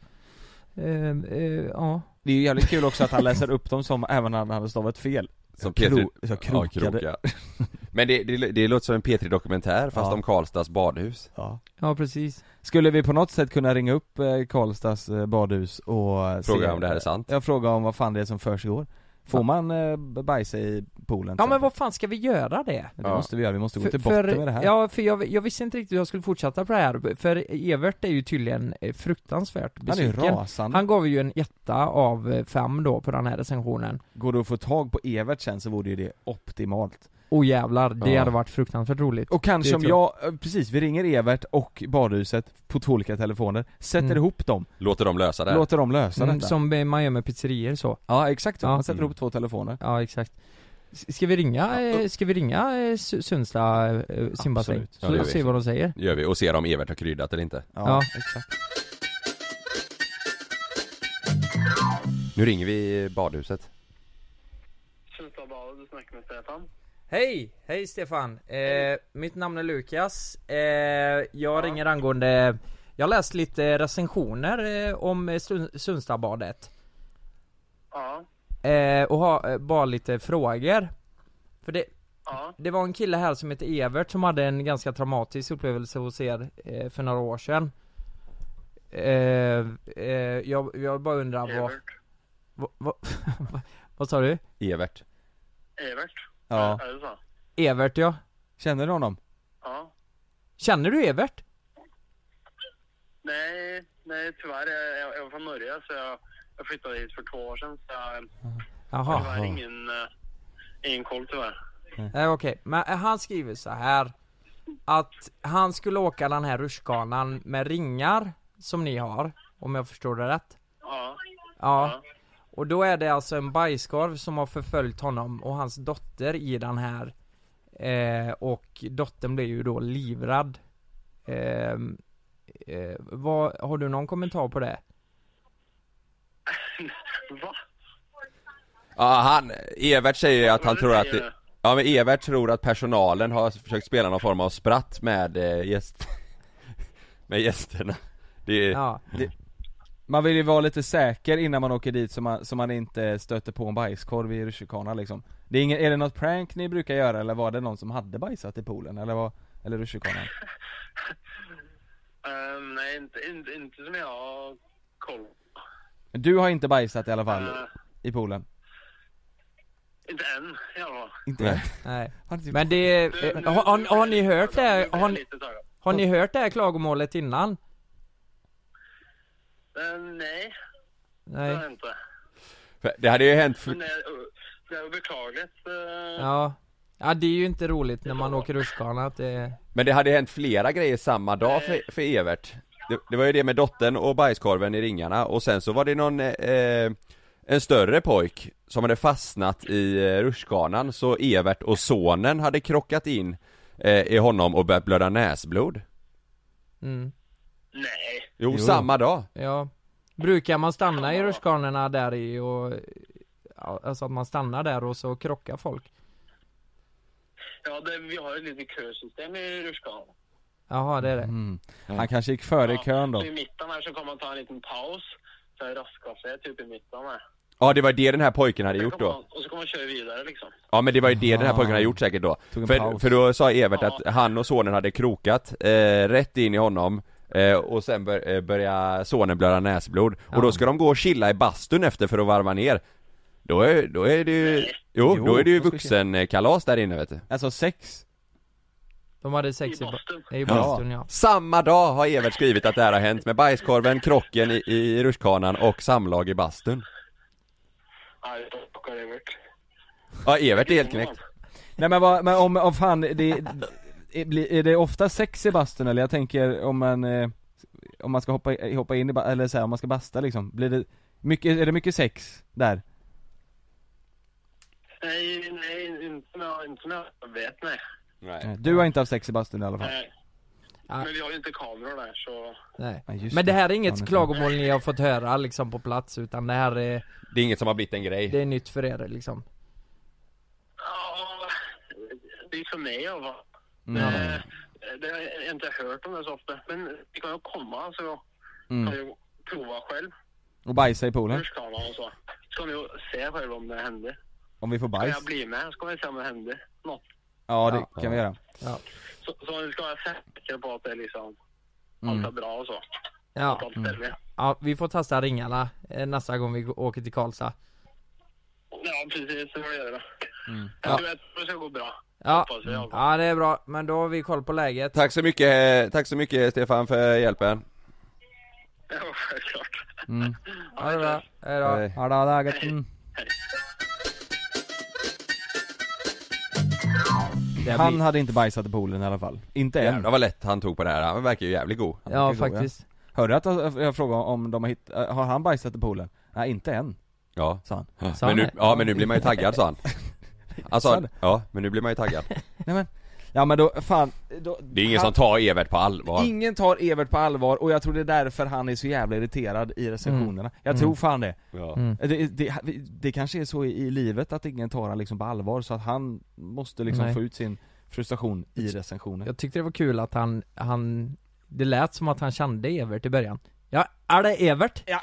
Speaker 8: Ehm, eh, Ja
Speaker 7: Det är ju jävligt kul också att han läser upp dem som även när han hade stavat fel.
Speaker 6: Som
Speaker 7: Kro-
Speaker 6: Petri...
Speaker 7: så
Speaker 6: ja,
Speaker 7: krokade.
Speaker 6: kroka. Men det, det, det låter som en P3-dokumentär fast
Speaker 7: Ja.
Speaker 6: om Karlstads badhus
Speaker 7: Ja.
Speaker 8: Ja precis
Speaker 7: Skulle vi på något sätt kunna ringa upp eh, Karlstads eh, badhus och eh,
Speaker 6: Fråga
Speaker 7: se-
Speaker 6: om det här är sant?
Speaker 7: Ja, fråga om vad fan det är som försiggår Får man eh, bajsa i poolen?
Speaker 8: Ja men vad fan ska vi göra det?
Speaker 7: Det måste vi göra, vi måste gå till
Speaker 8: för,
Speaker 7: botten med det här
Speaker 8: Ja, för jag, jag visste inte riktigt hur jag skulle fortsätta på det här, för Evert är ju tydligen eh, fruktansvärt
Speaker 7: Han är ju
Speaker 8: besviken
Speaker 7: rasande.
Speaker 8: Han gav ju en etta av eh, fem då på den här recensionen
Speaker 7: Går du att få tag på Evert sen så vore ju det optimalt
Speaker 8: Åh jävlar, det
Speaker 7: Ja.
Speaker 8: hade varit fruktansvärt roligt
Speaker 7: Och kanske
Speaker 8: Det
Speaker 7: om
Speaker 8: tror jag.
Speaker 7: jag, eh, precis, vi ringer Evert och badhuset på två olika telefoner, sätter
Speaker 8: Mm.
Speaker 7: ihop dem
Speaker 6: Låter dem lösa det? här.
Speaker 7: Låter dem lösa
Speaker 8: Mm,
Speaker 7: detta
Speaker 8: Som eh, man gör med pizzerior så
Speaker 7: Ja exakt så,
Speaker 8: Ja.
Speaker 7: man sätter ihop två telefoner
Speaker 8: Ja exakt S- Ska vi ringa, eh, ska vi ringa eh, Su- Sundsta eh, simbassäng?
Speaker 6: Absolut. Ja,
Speaker 8: Så
Speaker 6: det gör vi.
Speaker 8: se vad de säger
Speaker 6: gör vi och ser om Evert har kryddat eller inte
Speaker 8: Ja, exakt
Speaker 6: Nu ringer vi badhuset
Speaker 8: Hej! Hej Stefan! Eh, mitt namn är Lukas. Eh, jag ringer angående... Jag har läst lite recensioner eh, om eh, Sun- Sundstabadet.
Speaker 9: Ja.
Speaker 8: Eh, och har eh, bara lite frågor. För det, det var en kille här som heter Evert som hade en ganska traumatisk upplevelse hos er eh, för några år sedan. Eh, eh, jag, jag bara undrar vad... Vad, vad, vad sa du?
Speaker 6: Evert
Speaker 9: Evert?
Speaker 7: Ja.
Speaker 9: Är det så?
Speaker 8: Evert ja.
Speaker 7: Känner du honom?
Speaker 9: Ja.
Speaker 8: Känner du Evert?
Speaker 9: Nej, nej tyvärr. Jag, jag, jag är från Norge så jag, jag flyttade hit för två år sedan. Så jag,
Speaker 8: Jaha.
Speaker 9: tyvärr ingen, eh, ingen koll tyvärr.
Speaker 8: Eh, Okej, men eh, han skriver så här Att han skulle åka den här rutschkanan med ringar Som ni har, om jag förstår det rätt
Speaker 9: Ja.
Speaker 8: Ja Och då är det alltså en bajskorv som har förföljt honom och hans dotter i den här eh, Och dottern blir ju då livrad Ehm, eh, vad, Har du någon kommentar på det?
Speaker 9: Va?
Speaker 6: Ja han, Evert säger att han tror att det, Ja men Evert tror att personalen har försökt spela någon form av spratt med eh, gäst Med gästerna Det är,
Speaker 8: Ja.
Speaker 7: Det, man vill ju vara lite säker innan man åker dit så man, så man inte stöter på en bajskorv i rutschkana liksom det är, ingen, är det något prank ni brukar göra eller var det någon som hade bajsat i poolen eller vad, eller rutschkanan?
Speaker 9: Ehm, nej, inte, inte, inte som jag har koll
Speaker 7: Du har inte bajsat i alla fall?
Speaker 9: Eh.
Speaker 7: I poolen?
Speaker 9: Inte än i alla fall.
Speaker 7: Inte Nej.
Speaker 8: Nej.
Speaker 7: Har inte-
Speaker 8: Men det är, eh, har, har, har ni hört det här, har, ni- har ni hört det här klagomålet innan?
Speaker 9: Ehm, nej, det
Speaker 8: Nej
Speaker 9: har jag inte.
Speaker 6: för Det hade ju hänt för,
Speaker 9: Men det, är- det är beklagligt. eh,
Speaker 8: Ja Ja det är ju inte roligt när man åker rutschkana att det
Speaker 6: Men det hade hänt flera grejer samma dag för, för Evert det, det var ju det med dottern och bajskorven i ringarna och sen så var det någon eh, En större pojk som hade fastnat i eh, rutschkanan så Evert och sonen hade krockat in eh, I honom och börjat blöda näsblod
Speaker 8: mm.
Speaker 9: Nej
Speaker 6: Jo, samma dag
Speaker 8: Ja Brukar man stanna i rutschkanorna där i och ja, alltså att man stannar där och så krockar folk?
Speaker 9: Ja, det, vi har ett litet kösystem i rutschkanan.
Speaker 8: Jaha, det är det.
Speaker 7: Han kanske gick före i kön då
Speaker 9: Så I mitten här så kommer man ta en liten paus. Så här raska sig typ i mitten här.
Speaker 6: Ja det var det den här pojken hade gjort då
Speaker 9: Och så kommer man köra vidare liksom.
Speaker 6: Ja men det var ju det den här
Speaker 9: Ah.
Speaker 6: pojken hade gjort säkert då
Speaker 7: Tog en
Speaker 6: för,
Speaker 7: paus.
Speaker 6: för då sa Evert att han och sonen hade krokat eh, rätt in i honom eh, Och sen bör, eh, började sonen blöda näsblod Och då ska de gå och chilla i bastun efter för att varva ner Då är, då är det ju, jo,
Speaker 8: Jo,
Speaker 6: då är det ju
Speaker 8: då ska vi se.
Speaker 6: vuxenkalas där inne vet du
Speaker 7: Alltså sex?
Speaker 8: De hade sex i bastun. I bastun ja.
Speaker 6: Samma dag har Evert skrivit att det här har hänt med bajskorven, krocken i, i rutschkanan och samlag i bastun
Speaker 9: Nej, jag plockar Evert.
Speaker 6: Ja Evert är helt knäckt
Speaker 7: Nej men, vad, men om, om fan, det, är- blir- är det ofta sex i bastun eller? Jag tänker om man, eh, om man ska hoppa, eh, hoppa in i, ba- eller så här, om man ska basta liksom, blir det mycket, är det mycket sex där?
Speaker 9: Nej, nej, inte som jag, inte som jag vet nej.
Speaker 7: Du har inte haft sex i bastun i alla fall?
Speaker 9: Nej. Men vi har ju inte kameror där så...
Speaker 8: Nej.
Speaker 7: Ja, just
Speaker 8: Men det
Speaker 7: det.
Speaker 8: här är
Speaker 7: Ja,
Speaker 8: inget
Speaker 7: nu-
Speaker 8: klagomål ni har fått höra liksom på plats utan det här är
Speaker 6: Det är inget som har blivit en grej
Speaker 8: Det är nytt för er liksom.
Speaker 9: Ja, det är för mig i alla fall. Eh,
Speaker 8: Ja.
Speaker 9: Det har jag inte hört om det så ofta. Men det kan ju komma så jag kan
Speaker 7: Mm.
Speaker 9: ju prova själv.
Speaker 7: Och bajsa i poolen?
Speaker 9: Rutschkanan och så. Så kan vi ju se själv om det händer.
Speaker 7: Om vi får
Speaker 9: Kan
Speaker 7: bajs?
Speaker 9: jag bli med så kan vi se om det händer något.
Speaker 7: Ja det
Speaker 8: Ja.
Speaker 7: kan vi göra
Speaker 8: Ja.
Speaker 9: Så, så vi ska vara säkra på att det är liksom
Speaker 8: Mm.
Speaker 9: allt är bra och så. På
Speaker 8: Ja.
Speaker 9: allt ställe.
Speaker 8: ja, vi får testa ringarna eh, nästa gång vi gå- åker till Karlstad.
Speaker 9: Ja, precis. Det får vi göra.
Speaker 8: Ja.
Speaker 9: Jag tror att det ska gå bra.
Speaker 8: Ja.
Speaker 9: Hoppas jag.
Speaker 8: ja, det är bra. Men då har vi koll på läget.
Speaker 6: Tack så mycket, eh, tack så mycket Stefan för hjälpen
Speaker 9: Ja, självklart.
Speaker 7: Mm.
Speaker 8: Ha det bra. Hej
Speaker 6: Hej.
Speaker 8: då.
Speaker 7: Ja, det är gött. Mm.
Speaker 8: Det
Speaker 7: Han
Speaker 8: blir-
Speaker 7: hade inte bajsat i poolen i alla fall, inte än
Speaker 6: Jävlar vad lätt han tog på det här, han verkar ju jävligt god
Speaker 8: Ja, faktiskt.
Speaker 7: Hörde att jag jag frågade om de har hittat, har han bajsat i poolen? Nej inte än
Speaker 6: Ja,
Speaker 7: sa han
Speaker 8: Sa
Speaker 6: men
Speaker 8: han
Speaker 6: nu,
Speaker 8: det?
Speaker 6: ja men nu blir man ju taggad sa han Han
Speaker 7: Sa
Speaker 6: sa,
Speaker 7: han det?
Speaker 6: ja men nu blir man ju taggad
Speaker 7: Nej men, ja men då, fan då,
Speaker 6: Det är ingen
Speaker 7: han-
Speaker 6: som tar Evert på allvar
Speaker 7: Ingen tar Evert på allvar och jag tror det är därför han är så jävla irriterad i recensionerna Jag
Speaker 6: Mm.
Speaker 7: tror fan det. Eh,
Speaker 6: Ja.
Speaker 8: Mm.
Speaker 7: Det, det Det kanske är så i, i livet att ingen tar han liksom på allvar så att han måste liksom
Speaker 8: Nej.
Speaker 7: få ut sin frustration i recensioner
Speaker 8: Jag tyckte det var kul att han, han, det lät som att han kände Evert i början. Ja, är det Evert?
Speaker 7: Ja,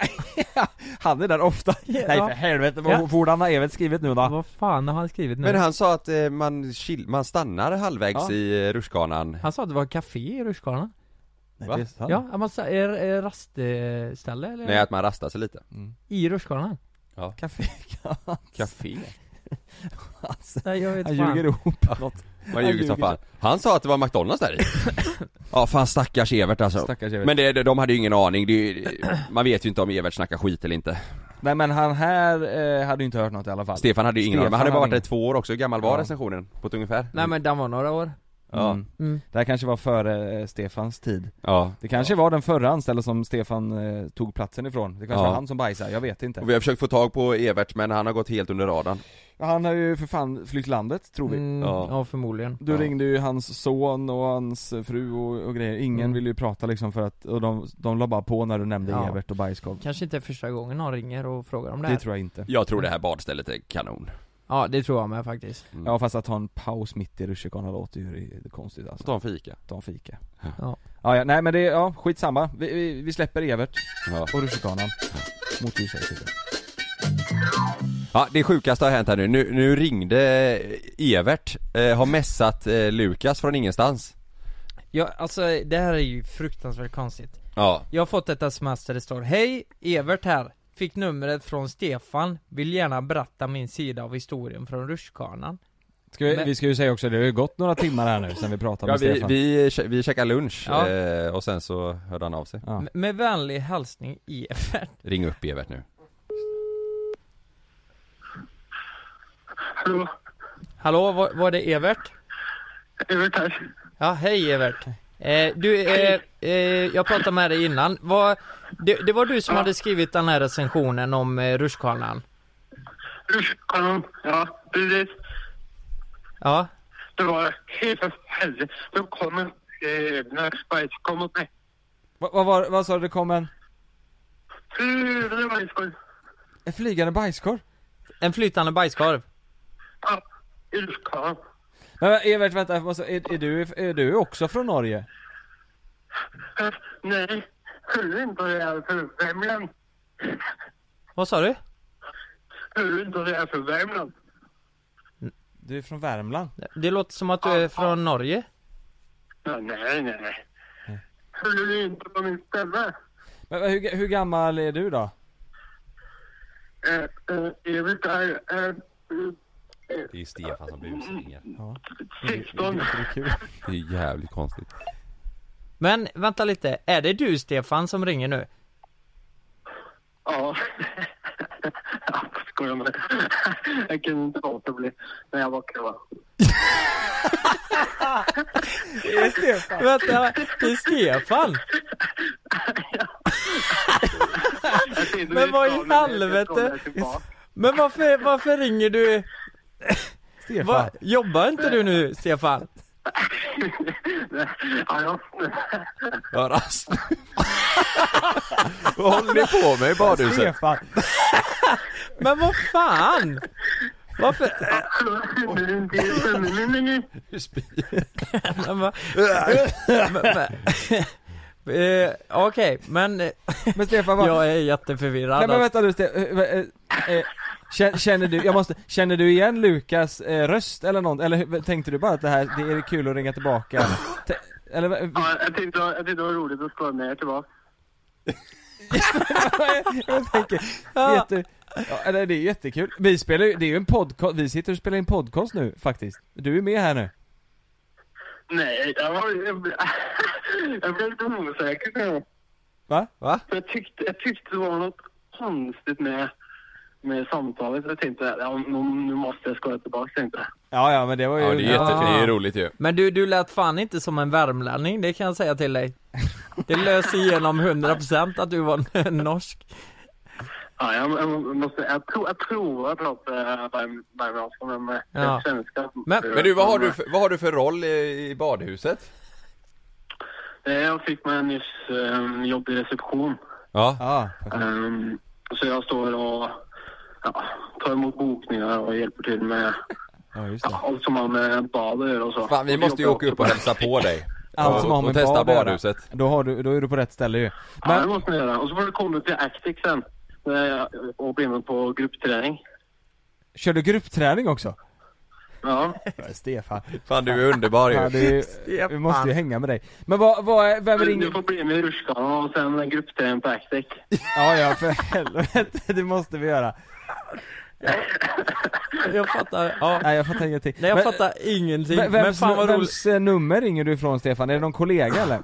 Speaker 7: han är där ofta. Nej för helvete, vad
Speaker 8: Ja.
Speaker 7: borde han ha Evert skrivit nu då?
Speaker 8: Vad fan har han skrivit nu?
Speaker 6: Men han sa att eh, man, chill, man stannar halvvägs
Speaker 8: Ja.
Speaker 6: i eh, rutschkanan
Speaker 8: Han sa att det var ett café i rutschkanan.
Speaker 7: Nej,
Speaker 6: Va?
Speaker 8: Ja, ja, man sa, är, är rastställe eller?
Speaker 6: Nej att man rastar sig lite
Speaker 8: I rutschkanan?
Speaker 6: Ja
Speaker 7: Café
Speaker 6: Café?
Speaker 8: Nej jag vet
Speaker 7: Han
Speaker 8: fan.
Speaker 7: ljuger ihop något
Speaker 6: Man
Speaker 7: Han
Speaker 6: ljuger som fan Han sa att det var McDonalds där i Ja fan stackars Evert alltså
Speaker 7: Stackars Evert.
Speaker 6: Men det, det- de hade ju ingen aning, det, är ju- man vet ju inte om Evert snackar skit eller inte
Speaker 7: Nej men han här eh, hade ju inte hört något i alla fall
Speaker 6: Stefan hade ju ingen aning, men han
Speaker 7: Stefan
Speaker 6: hade bara varit
Speaker 7: hade
Speaker 6: där i två år också, hur gammal var
Speaker 7: Ja.
Speaker 6: recensionen? På ett ungefär?
Speaker 8: Nej men den var några år.
Speaker 6: Ja.
Speaker 7: Mm.
Speaker 8: Mm.
Speaker 7: Det här kanske var före eh, Stefans tid
Speaker 6: Ja.
Speaker 7: Det kanske var den förra anställda som Stefan eh, tog platsen ifrån Det kanske
Speaker 6: Ja.
Speaker 7: var han som bajsade, jag vet inte
Speaker 6: Och vi har försökt få tag på Evert men han har gått helt under radarn
Speaker 7: Han har ju för fan flytt landet, tror vi
Speaker 8: Mm, ja. förmodligen.
Speaker 7: Du ringde ju hans son och hans fru och, och grejer, ingen
Speaker 8: Mm.
Speaker 7: ville ju prata liksom för att, och de, de la bara på när du nämnde
Speaker 8: Ja.
Speaker 7: Evert och bajskorv
Speaker 8: Kanske inte är första gången någon ringer och frågar om det,
Speaker 7: Det
Speaker 8: här.
Speaker 7: tror jag inte
Speaker 6: Jag tror det här badstället är kanon
Speaker 8: Ja det tror jag med faktiskt.
Speaker 6: Mm.
Speaker 7: Ja fast att ta en paus mitt i rutschkanan låter ju konstigt alltså
Speaker 6: Ta en fika
Speaker 7: Ta en fika
Speaker 8: Ja.
Speaker 7: Ja, ja, nej men det, ja skitsamma. Vi, vi, vi släpper Evert och rutschkanan mot ljuset
Speaker 6: Ja, det sjukaste har hänt här nu. Nu, nu ringde Evert, eh, har messat eh, Lukas från ingenstans.
Speaker 8: Ja alltså det här är ju fruktansvärt konstigt.
Speaker 6: Ja.
Speaker 8: Jag har fått ett sms där det står Hej, Evert här. Fick numret från Stefan. Vill gärna berätta min sida av historien från rutschkanan.
Speaker 7: Ska vi,
Speaker 8: Men-
Speaker 7: vi ska ju säga också, det har ju gått några timmar här nu sen vi pratade
Speaker 6: Ja,
Speaker 7: med
Speaker 6: vi,
Speaker 7: Stefan
Speaker 6: vi, che- vi käkade lunch
Speaker 8: Ja.
Speaker 6: eh, och sen så hörde han av sig.
Speaker 8: M- Med vänlig hälsning Evert.
Speaker 6: Ring upp Evert nu.
Speaker 9: Hallå?
Speaker 8: Hallå, var, var det Evert?
Speaker 9: Evert här.
Speaker 8: Ja, hej Evert. Eh, du, eh, eh, jag pratade med dig innan. Var, det, det var du som hade skrivit den här recensionen om eh, rutschkanan?
Speaker 9: Rutschkanan, ja precis.
Speaker 8: Ja.
Speaker 9: Det var helt för helvete. Då kom en jävla bajskorv mot mig.
Speaker 7: Va- Vad var, vad sa du, det kom en?
Speaker 9: Hur var det bajskorv?
Speaker 7: En flygande bajskorv?
Speaker 8: En flytande bajskorv.
Speaker 9: Ilka.
Speaker 7: Men men, Evert vänta, jag måste- är, är, du, är du också från Norge?
Speaker 9: Eh, Nej, skulle inte det är för Värmland.
Speaker 8: Vad sa du?
Speaker 9: Skulle inte det är för Värmland.
Speaker 7: Du är från Värmland?
Speaker 8: Det låter som att du är från Norge.
Speaker 9: Ja, nej, nej, nej. Skulle det inte på min ställe.
Speaker 7: Men, men hur, hur gammal är du då?
Speaker 9: Eh, eh, Evert är eh,
Speaker 6: Det är ju Stefan som busringer.
Speaker 7: Ja.
Speaker 9: 16.
Speaker 6: Det är jävligt konstigt.
Speaker 8: Men vänta lite, är det du Stefan som ringer nu?
Speaker 9: Ja. Jag skojar med dig. Jag kunde inte låta bli när jag var kvar.
Speaker 8: Det är Stefan. Vänta, det är Stefan? Men vad i helvete? Men varför, varför ringer du? Stefan. jobbar inte du nu Stefan?
Speaker 9: Ja, jag
Speaker 6: Vad rast. Vad håller ni på med i badhuset?
Speaker 7: Stefan.
Speaker 8: Men vad fan? Varför? Men vad- men- men- Eh, Okej, men... eh,
Speaker 7: Men Stefan vad-
Speaker 8: Jag är jätteförvirrad
Speaker 7: Nej men
Speaker 8: alltså.
Speaker 7: vänta nu Ste- eh, eh, eh, kän- Känner du, jag måste, känner du igen Lukas eh, röst eller nånt? Eller hur- tänkte du bara att det här, det är kul att ringa tillbaka? Tä- Eller vad-
Speaker 9: Ja, jag tyckte, jag tyckte det var roligt att skoja med er tillbaka.
Speaker 7: jag tänker, jätte, ja, eller det är jättekul. Vi spelar ju, det är ju en podcast, vi sitter och spelar in podcast nu faktiskt. Du är med här nu.
Speaker 9: Nej, jag var... Jag blev, jag blev lite osäker nu.
Speaker 7: Va? Va?
Speaker 9: För Jag tyckte, jag tyckte det var något konstigt med, med samtalet. Jag tänkte, ja, nu, nu måste jag skoja tillbaka, tänkte jag.
Speaker 7: Ja ja men det var ju...
Speaker 6: Ja, det är jätte- det är ju roligt ju.
Speaker 8: Men du, du lät fan inte som en värmlänning, det kan jag säga till dig. Det löser igenom 100% att du var norsk.
Speaker 9: Ja, jag, jag, måste, jag, pro, jag provar att prata värmeavtal, men med
Speaker 6: Ja.
Speaker 9: svenska...
Speaker 6: Men, men du, vad har du, för, vad har du för roll i, i badhuset?
Speaker 9: Eh, Jag fick mig nyss um, jobb i reception.
Speaker 6: Ja.
Speaker 9: Ehm, så jag står och ja, tar emot bokningar och hjälper till med
Speaker 7: ja,
Speaker 9: ja, allt som har med bad att göra och så.
Speaker 6: Fan, vi
Speaker 9: Och
Speaker 6: måste ju
Speaker 9: jobbar
Speaker 6: åka upp
Speaker 9: också
Speaker 6: och hälsa på dig.
Speaker 7: Allt som har
Speaker 6: och,
Speaker 7: med
Speaker 6: och testa
Speaker 7: bad att göra.
Speaker 6: badhuset.
Speaker 7: Då har du, då är du på rätt ställe ju.
Speaker 9: Ja, det måste ni göra. Och så får du komma till Actic sen eh, och bli med på gruppträning.
Speaker 7: Kör du gruppträning också?
Speaker 9: Ja.
Speaker 7: Stefan.
Speaker 6: Fan du är underbar ju.
Speaker 7: Ja, det är ju, vi måste ju hänga med dig. Men vad, vad, är- vem ringer?
Speaker 9: Du får bli med i rutschkanan och sen en gruppträning på Actic.
Speaker 7: Ja, ja för helvete, det måste vi göra.
Speaker 8: Jag fattar, ja.
Speaker 7: Nej jag fattar ingenting.
Speaker 8: Nej jag
Speaker 7: Men-
Speaker 8: fattar ingenting,
Speaker 7: Ve-
Speaker 8: men,
Speaker 7: vems,
Speaker 8: fan vad roligt.
Speaker 7: vems eh, nummer ringer du ifrån Stefan? Är det någon kollega eller?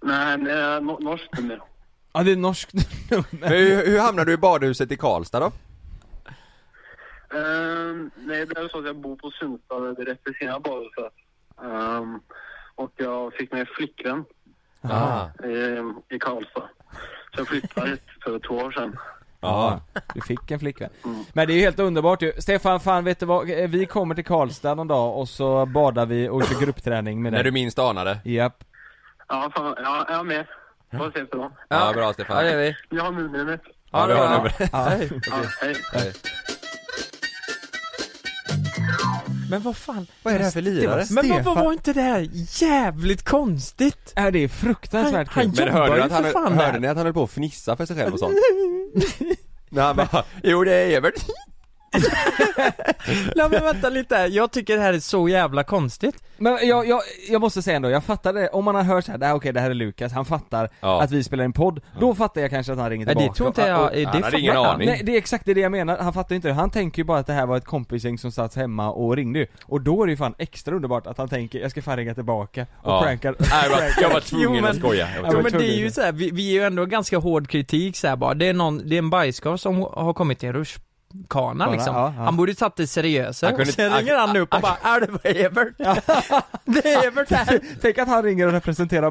Speaker 9: Nej, det är no- norskt nummer.
Speaker 7: Ja det är norskt nummer.
Speaker 6: Men hur, hur hamnade du i badhuset i Karlstad då?
Speaker 9: Ehm, nej, det är så att jag bor på Sundstad direkt vid sidan av badhuset. Ehm, och jag fick med flickvän
Speaker 6: Ah.
Speaker 9: ehm, i Karlstad. Så jag flyttade hit för två år sedan.
Speaker 7: Ja. Du fick en flickvän. Men det är ju helt underbart ju. Stefan, fan vet du vad? Eh, Vi kommer till Karlstad någon dag och så badar vi och kör gruppträning med dig.
Speaker 6: När du minst anade?
Speaker 7: Japp.
Speaker 9: Ja, fan, ja, jag är med. Får ses då.
Speaker 6: Ja, bra, Stefan. Ja, det är vi.
Speaker 9: Ni har numret.
Speaker 6: Ja, du har numret.
Speaker 9: Ja, hej.
Speaker 8: Men vad fan?
Speaker 6: Vad är det här för lirare?
Speaker 8: Men vad, vad
Speaker 6: Stefan.
Speaker 8: var inte det här jävligt konstigt?
Speaker 7: Ja det är fruktansvärt
Speaker 8: han, han
Speaker 6: Men
Speaker 8: jobbar
Speaker 6: hörde,
Speaker 8: ju
Speaker 6: ni att han,
Speaker 8: för fan
Speaker 6: hörde
Speaker 8: där.
Speaker 6: ni att han höll på att fnissa för sig själv och sånt? Nej, han bara, jo det är Evert.
Speaker 8: Nej men vänta lite, jag tycker det här är så jävla konstigt.
Speaker 7: Men jag, jag, jag måste säga ändå, jag fattar det. Om man har hört såhär, okej det här är Lukas, han fattar
Speaker 6: Ja.
Speaker 7: att vi spelar en podd. Då fattar jag kanske att han ringer
Speaker 8: Nej, det
Speaker 7: tillbaka.
Speaker 8: tror inte jag-
Speaker 7: Och-
Speaker 8: det Han hade fa- ingen
Speaker 7: Men-
Speaker 8: aning.
Speaker 7: Nej det är exakt det jag menar, han fattar ju inte det. Han tänker ju bara att det här var ett kompisgäng som satt hemma och ringde ju. Och då är det ju fan extra underbart att han tänker, jag ska fan ringa tillbaka och
Speaker 6: Ja.
Speaker 7: prankar.
Speaker 6: Nej, jag var-
Speaker 7: prankar.
Speaker 6: jag var tvungen Jo, men- att skoja. Jag var
Speaker 8: Ja,
Speaker 6: tvungen.
Speaker 8: men det är ju så här, vi, vi är ju ändå ganska hård kritik så här bara. Det är någon, det är en bajskorv som har kommit i en rutschkana
Speaker 7: Bara,
Speaker 8: liksom.
Speaker 7: ja, ja.
Speaker 8: Han borde ju tagit det seriösare.
Speaker 7: Han
Speaker 8: Och
Speaker 7: kunde
Speaker 8: sen
Speaker 7: inte-
Speaker 8: ringer han upp och bara, är det var Evert? Det är Evert här.
Speaker 7: Tänk att han ringer och representerar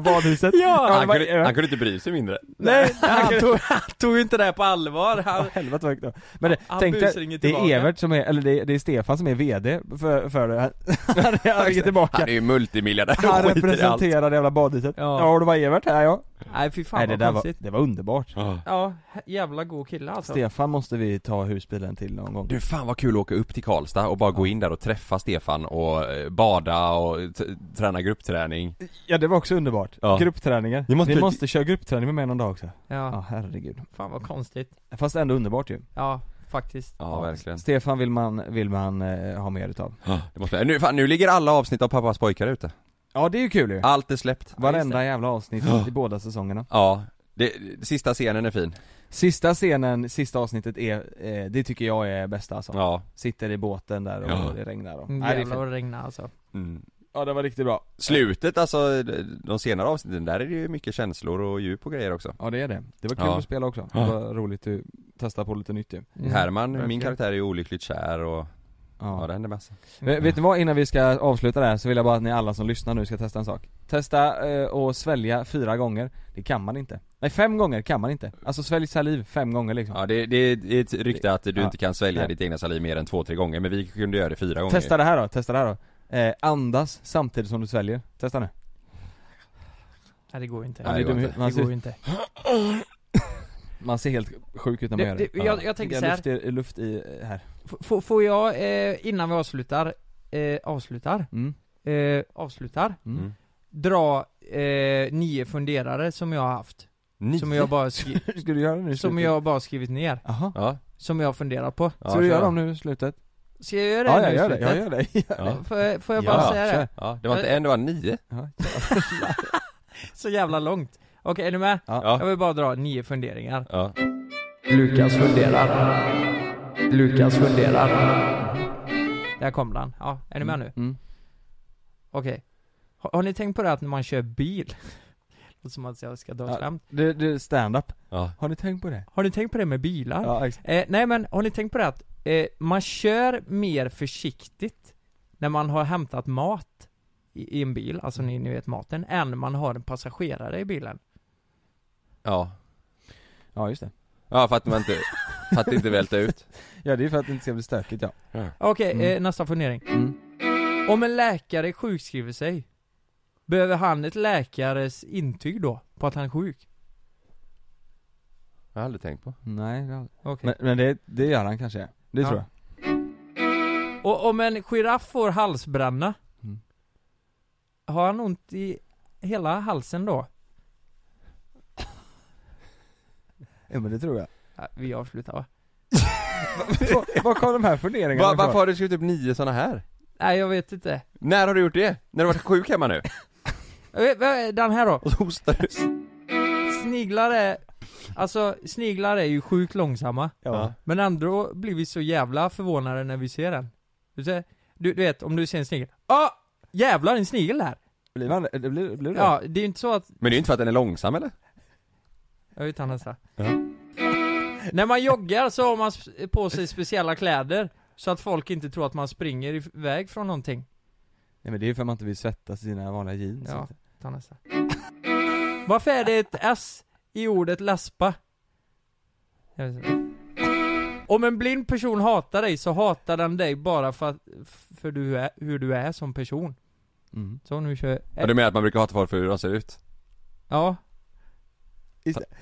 Speaker 7: badhuset. ja,
Speaker 6: Han kunde, han kunde inte bry sig mindre.
Speaker 8: Nej, han tog, han tog ju inte det här på allvar. Han,
Speaker 7: Helvete vad högt då. Men det,
Speaker 8: Han
Speaker 7: tänk
Speaker 8: busringer
Speaker 7: dig, det
Speaker 8: tillbaka.
Speaker 7: är Evert som är, eller det är, det är Stefan som är VD för, för det. här. Han ringer tillbaka.
Speaker 6: Han är ju multimiljardär och
Speaker 7: Han
Speaker 6: skiter i allt.
Speaker 7: representerar det jävla badhuset. Ja.
Speaker 8: Ja.
Speaker 7: det var Evert här ja.
Speaker 8: Nej fy fan
Speaker 7: Nej, det
Speaker 8: vad
Speaker 7: där var,
Speaker 8: konstigt
Speaker 7: det var underbart
Speaker 8: Ja, he- jävla god kille alltså
Speaker 7: Stefan måste vi ta husbilen till någon gång
Speaker 6: Du fan vad kul att åka upp till Karlstad och bara gå in där och träffa Stefan och eh, bada och t- träna gruppträning
Speaker 7: Ja det var också underbart,
Speaker 6: Ja.
Speaker 7: gruppträningar
Speaker 6: Ni
Speaker 7: Ni
Speaker 6: måste-
Speaker 7: måste... köra gruppträning med mig någon dag också
Speaker 8: Ja.
Speaker 7: herregud
Speaker 8: Fan vad konstigt
Speaker 7: Fast ändå underbart ju
Speaker 8: Ja, faktiskt
Speaker 7: Stefan vill man, vill man eh, ha mer utav
Speaker 6: det måste, nu, fan, nu ligger alla avsnitt av Pappas pojkar ute
Speaker 7: Ja det är ju kul ju
Speaker 6: Allt är släppt
Speaker 7: Varenda jävla avsnitt i båda säsongerna
Speaker 6: Ja, det, sista scenen är fin
Speaker 7: Sista scenen, sista avsnittet är, eh, det tycker jag är bästa alltså
Speaker 6: Ja.
Speaker 7: Sitter i båten där och
Speaker 6: Ja.
Speaker 7: det regnar och,
Speaker 8: Mm,
Speaker 7: Nej, det är
Speaker 8: Jävlar vad
Speaker 7: fint.
Speaker 8: det regnar alltså
Speaker 7: Ja det var riktigt bra
Speaker 6: Slutet alltså, de senare avsnitten, där är det ju mycket känslor och djup och grejer också
Speaker 7: Ja det är det, det var kul
Speaker 6: Ja.
Speaker 7: att spela också, det
Speaker 6: Ja.
Speaker 7: var roligt att testa på lite nytt ju
Speaker 6: Herman, min
Speaker 7: Verkligen.
Speaker 6: karaktär är ju olyckligt kär och Ja, det händer massa
Speaker 7: Eh, Vet ni vad, innan vi ska avsluta det här så vill jag bara att ni alla som lyssnar nu ska testa en sak Testa eh, och svälja fyra gånger, det kan man inte Nej fem gånger kan man inte, alltså svälj saliv fem gånger liksom
Speaker 6: Ja det, det, det är ett rykte att du
Speaker 7: Ja.
Speaker 6: inte kan svälja
Speaker 7: Nej.
Speaker 6: ditt egna saliv mer än två, tre gånger men vi kunde göra det fyra gånger
Speaker 7: Testa det här då, testa det här då eh, Andas samtidigt som du sväljer, testa nu
Speaker 8: Nej det går ju inte
Speaker 7: Ja, det Alltså- är dum i huvudet. Man
Speaker 8: Det går ju
Speaker 7: ser-
Speaker 8: inte
Speaker 7: Man ser helt sjuk ut när man
Speaker 8: Det-
Speaker 7: gör det
Speaker 8: det- jag- jag tänker
Speaker 7: Det är
Speaker 8: så här.
Speaker 7: luft, i, luft i eh, här
Speaker 8: F- får- Får jag, eh, innan vi avslutar, eh, avslutar,
Speaker 7: Mm.
Speaker 8: eh, avslutar,
Speaker 7: Mm.
Speaker 8: dra eh, nio funderare som jag har haft Som
Speaker 7: Nio?
Speaker 8: jag bara skri-
Speaker 7: Ska du göra det nu i
Speaker 8: Som
Speaker 7: slutet?
Speaker 8: jag bara skrivit ner
Speaker 7: Aha.
Speaker 6: Ja.
Speaker 8: Som jag har funderat på
Speaker 7: Ska du göra dem nu i slutet?
Speaker 8: Ska jag göra det
Speaker 7: Ja,
Speaker 8: nu
Speaker 7: jag
Speaker 8: i
Speaker 7: gör det,
Speaker 8: slutet?
Speaker 7: jag gör det, jag gör det.
Speaker 8: Får, får jag bara
Speaker 6: Ja,
Speaker 8: säga
Speaker 6: kör.
Speaker 8: det?
Speaker 6: Ja, det var inte en, det var nio
Speaker 8: Så jävla långt Okej, är ni med?
Speaker 6: Ja.
Speaker 8: Jag vill bara dra nio funderingar
Speaker 6: Ja.
Speaker 8: Lukas funderar Lukas funderar Där kom den, ja, är ni med
Speaker 7: Mm,
Speaker 8: nu? Okej har, har ni tänkt på det att när man kör bil? Låter som att jag ska dra ett
Speaker 7: Ja,
Speaker 8: skämt
Speaker 7: det, det är stand-up
Speaker 6: ja.
Speaker 7: Har ni tänkt på det?
Speaker 8: Har ni tänkt på det med bilar?
Speaker 7: Ja, exakt.
Speaker 8: eh, nej men, har ni tänkt på det att eh, man kör mer försiktigt när man har hämtat mat i, i en bil, alltså ni, ni vet maten, än man har en passagerare i bilen?
Speaker 6: Ja
Speaker 7: Ja just det
Speaker 6: Ja för att man inte, för att inte välta ut
Speaker 7: Ja det är för att det inte ska bli stökigt ja
Speaker 8: Okej,
Speaker 7: Mm.
Speaker 8: eh, nästa fundering. Om en läkare sjukskriver sig, behöver han ett läkares intyg då, på att han är sjuk?
Speaker 6: Jag har aldrig tänkt på
Speaker 7: Nej, det har jag aldrig.
Speaker 8: Okej.
Speaker 7: men, men det, det gör han kanske, det
Speaker 8: Ja.
Speaker 7: tror jag
Speaker 8: Och om en giraff får halsbränna, har han ont i hela halsen då?
Speaker 7: Ja men det tror jag
Speaker 8: Ja, vi avslutar va?
Speaker 7: Var- Var kom de här funderingarna
Speaker 6: Va,
Speaker 7: ifrån?
Speaker 6: Varför har du skrivit upp nio såna här?
Speaker 8: Nej jag vet inte.
Speaker 6: När har du gjort det? När du varit sjuk hemma nu?
Speaker 8: Jag vet- vad är Eh, Den här då?
Speaker 6: Och så hostar du
Speaker 8: Sniglar är, alltså sniglar är ju sjukt långsamma
Speaker 6: Ja.
Speaker 8: Men ändå blir vi så jävla förvånade när vi ser den Du, ser, du, du vet, om du ser en snigel, ah! Jävlar en snigel där!
Speaker 7: Blir man det? Blir, blir det?
Speaker 8: Ja, det är ju inte så att,
Speaker 6: Men det är ju inte för att den är långsam eller?
Speaker 8: jag vet inte nästa
Speaker 6: Ja.
Speaker 8: När man joggar så har man sp- på sig speciella kläder Så att folk inte tror att man springer iväg från någonting
Speaker 7: Nej men det är ju för att man inte vill svettas i sina vanliga jeans
Speaker 8: Ja, ta nästa Varför är det ett S i ordet läspa? Jag vet inte. Om en blind person hatar dig så hatar den dig bara för, att, för du är, hur du är som person Så nu kör
Speaker 6: Mm. Ja, du menar att man brukar hata folk för hur de ser ut?
Speaker 8: Ja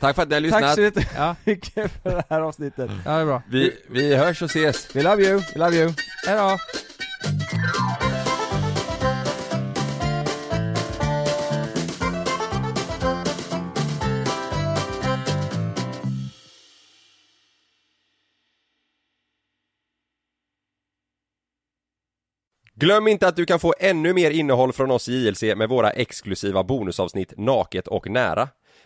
Speaker 6: Tack för att ni har lyssnat!
Speaker 7: Tack så mycket
Speaker 8: ja.
Speaker 7: för det här avsnittet
Speaker 8: Ja det är bra
Speaker 6: vi, vi hörs och ses!
Speaker 7: We love you, we love you
Speaker 8: Hejdå
Speaker 6: Glöm inte att du kan få ännu mer innehåll från oss i JLC med våra exklusiva bonusavsnitt Naket och nära.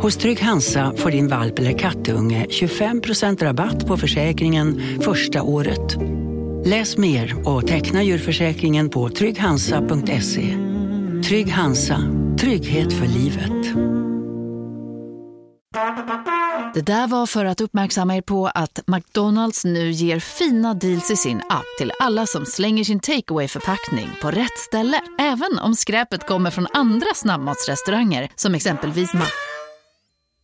Speaker 13: Hos Trygg Hansa får din valp eller kattunge 25% rabatt på försäkringen första året. Läs mer och teckna djurförsäkringen på trygghansa.se. Trygg Hansa, trygghet för livet.
Speaker 9: Det där var för att uppmärksamma er på att McDonalds nu ger fina deals i sin app till alla som slänger sin takeaway förpackning på rätt ställe. Även om skräpet kommer från andra snabbmatsrestauranger som exempelvis Ma...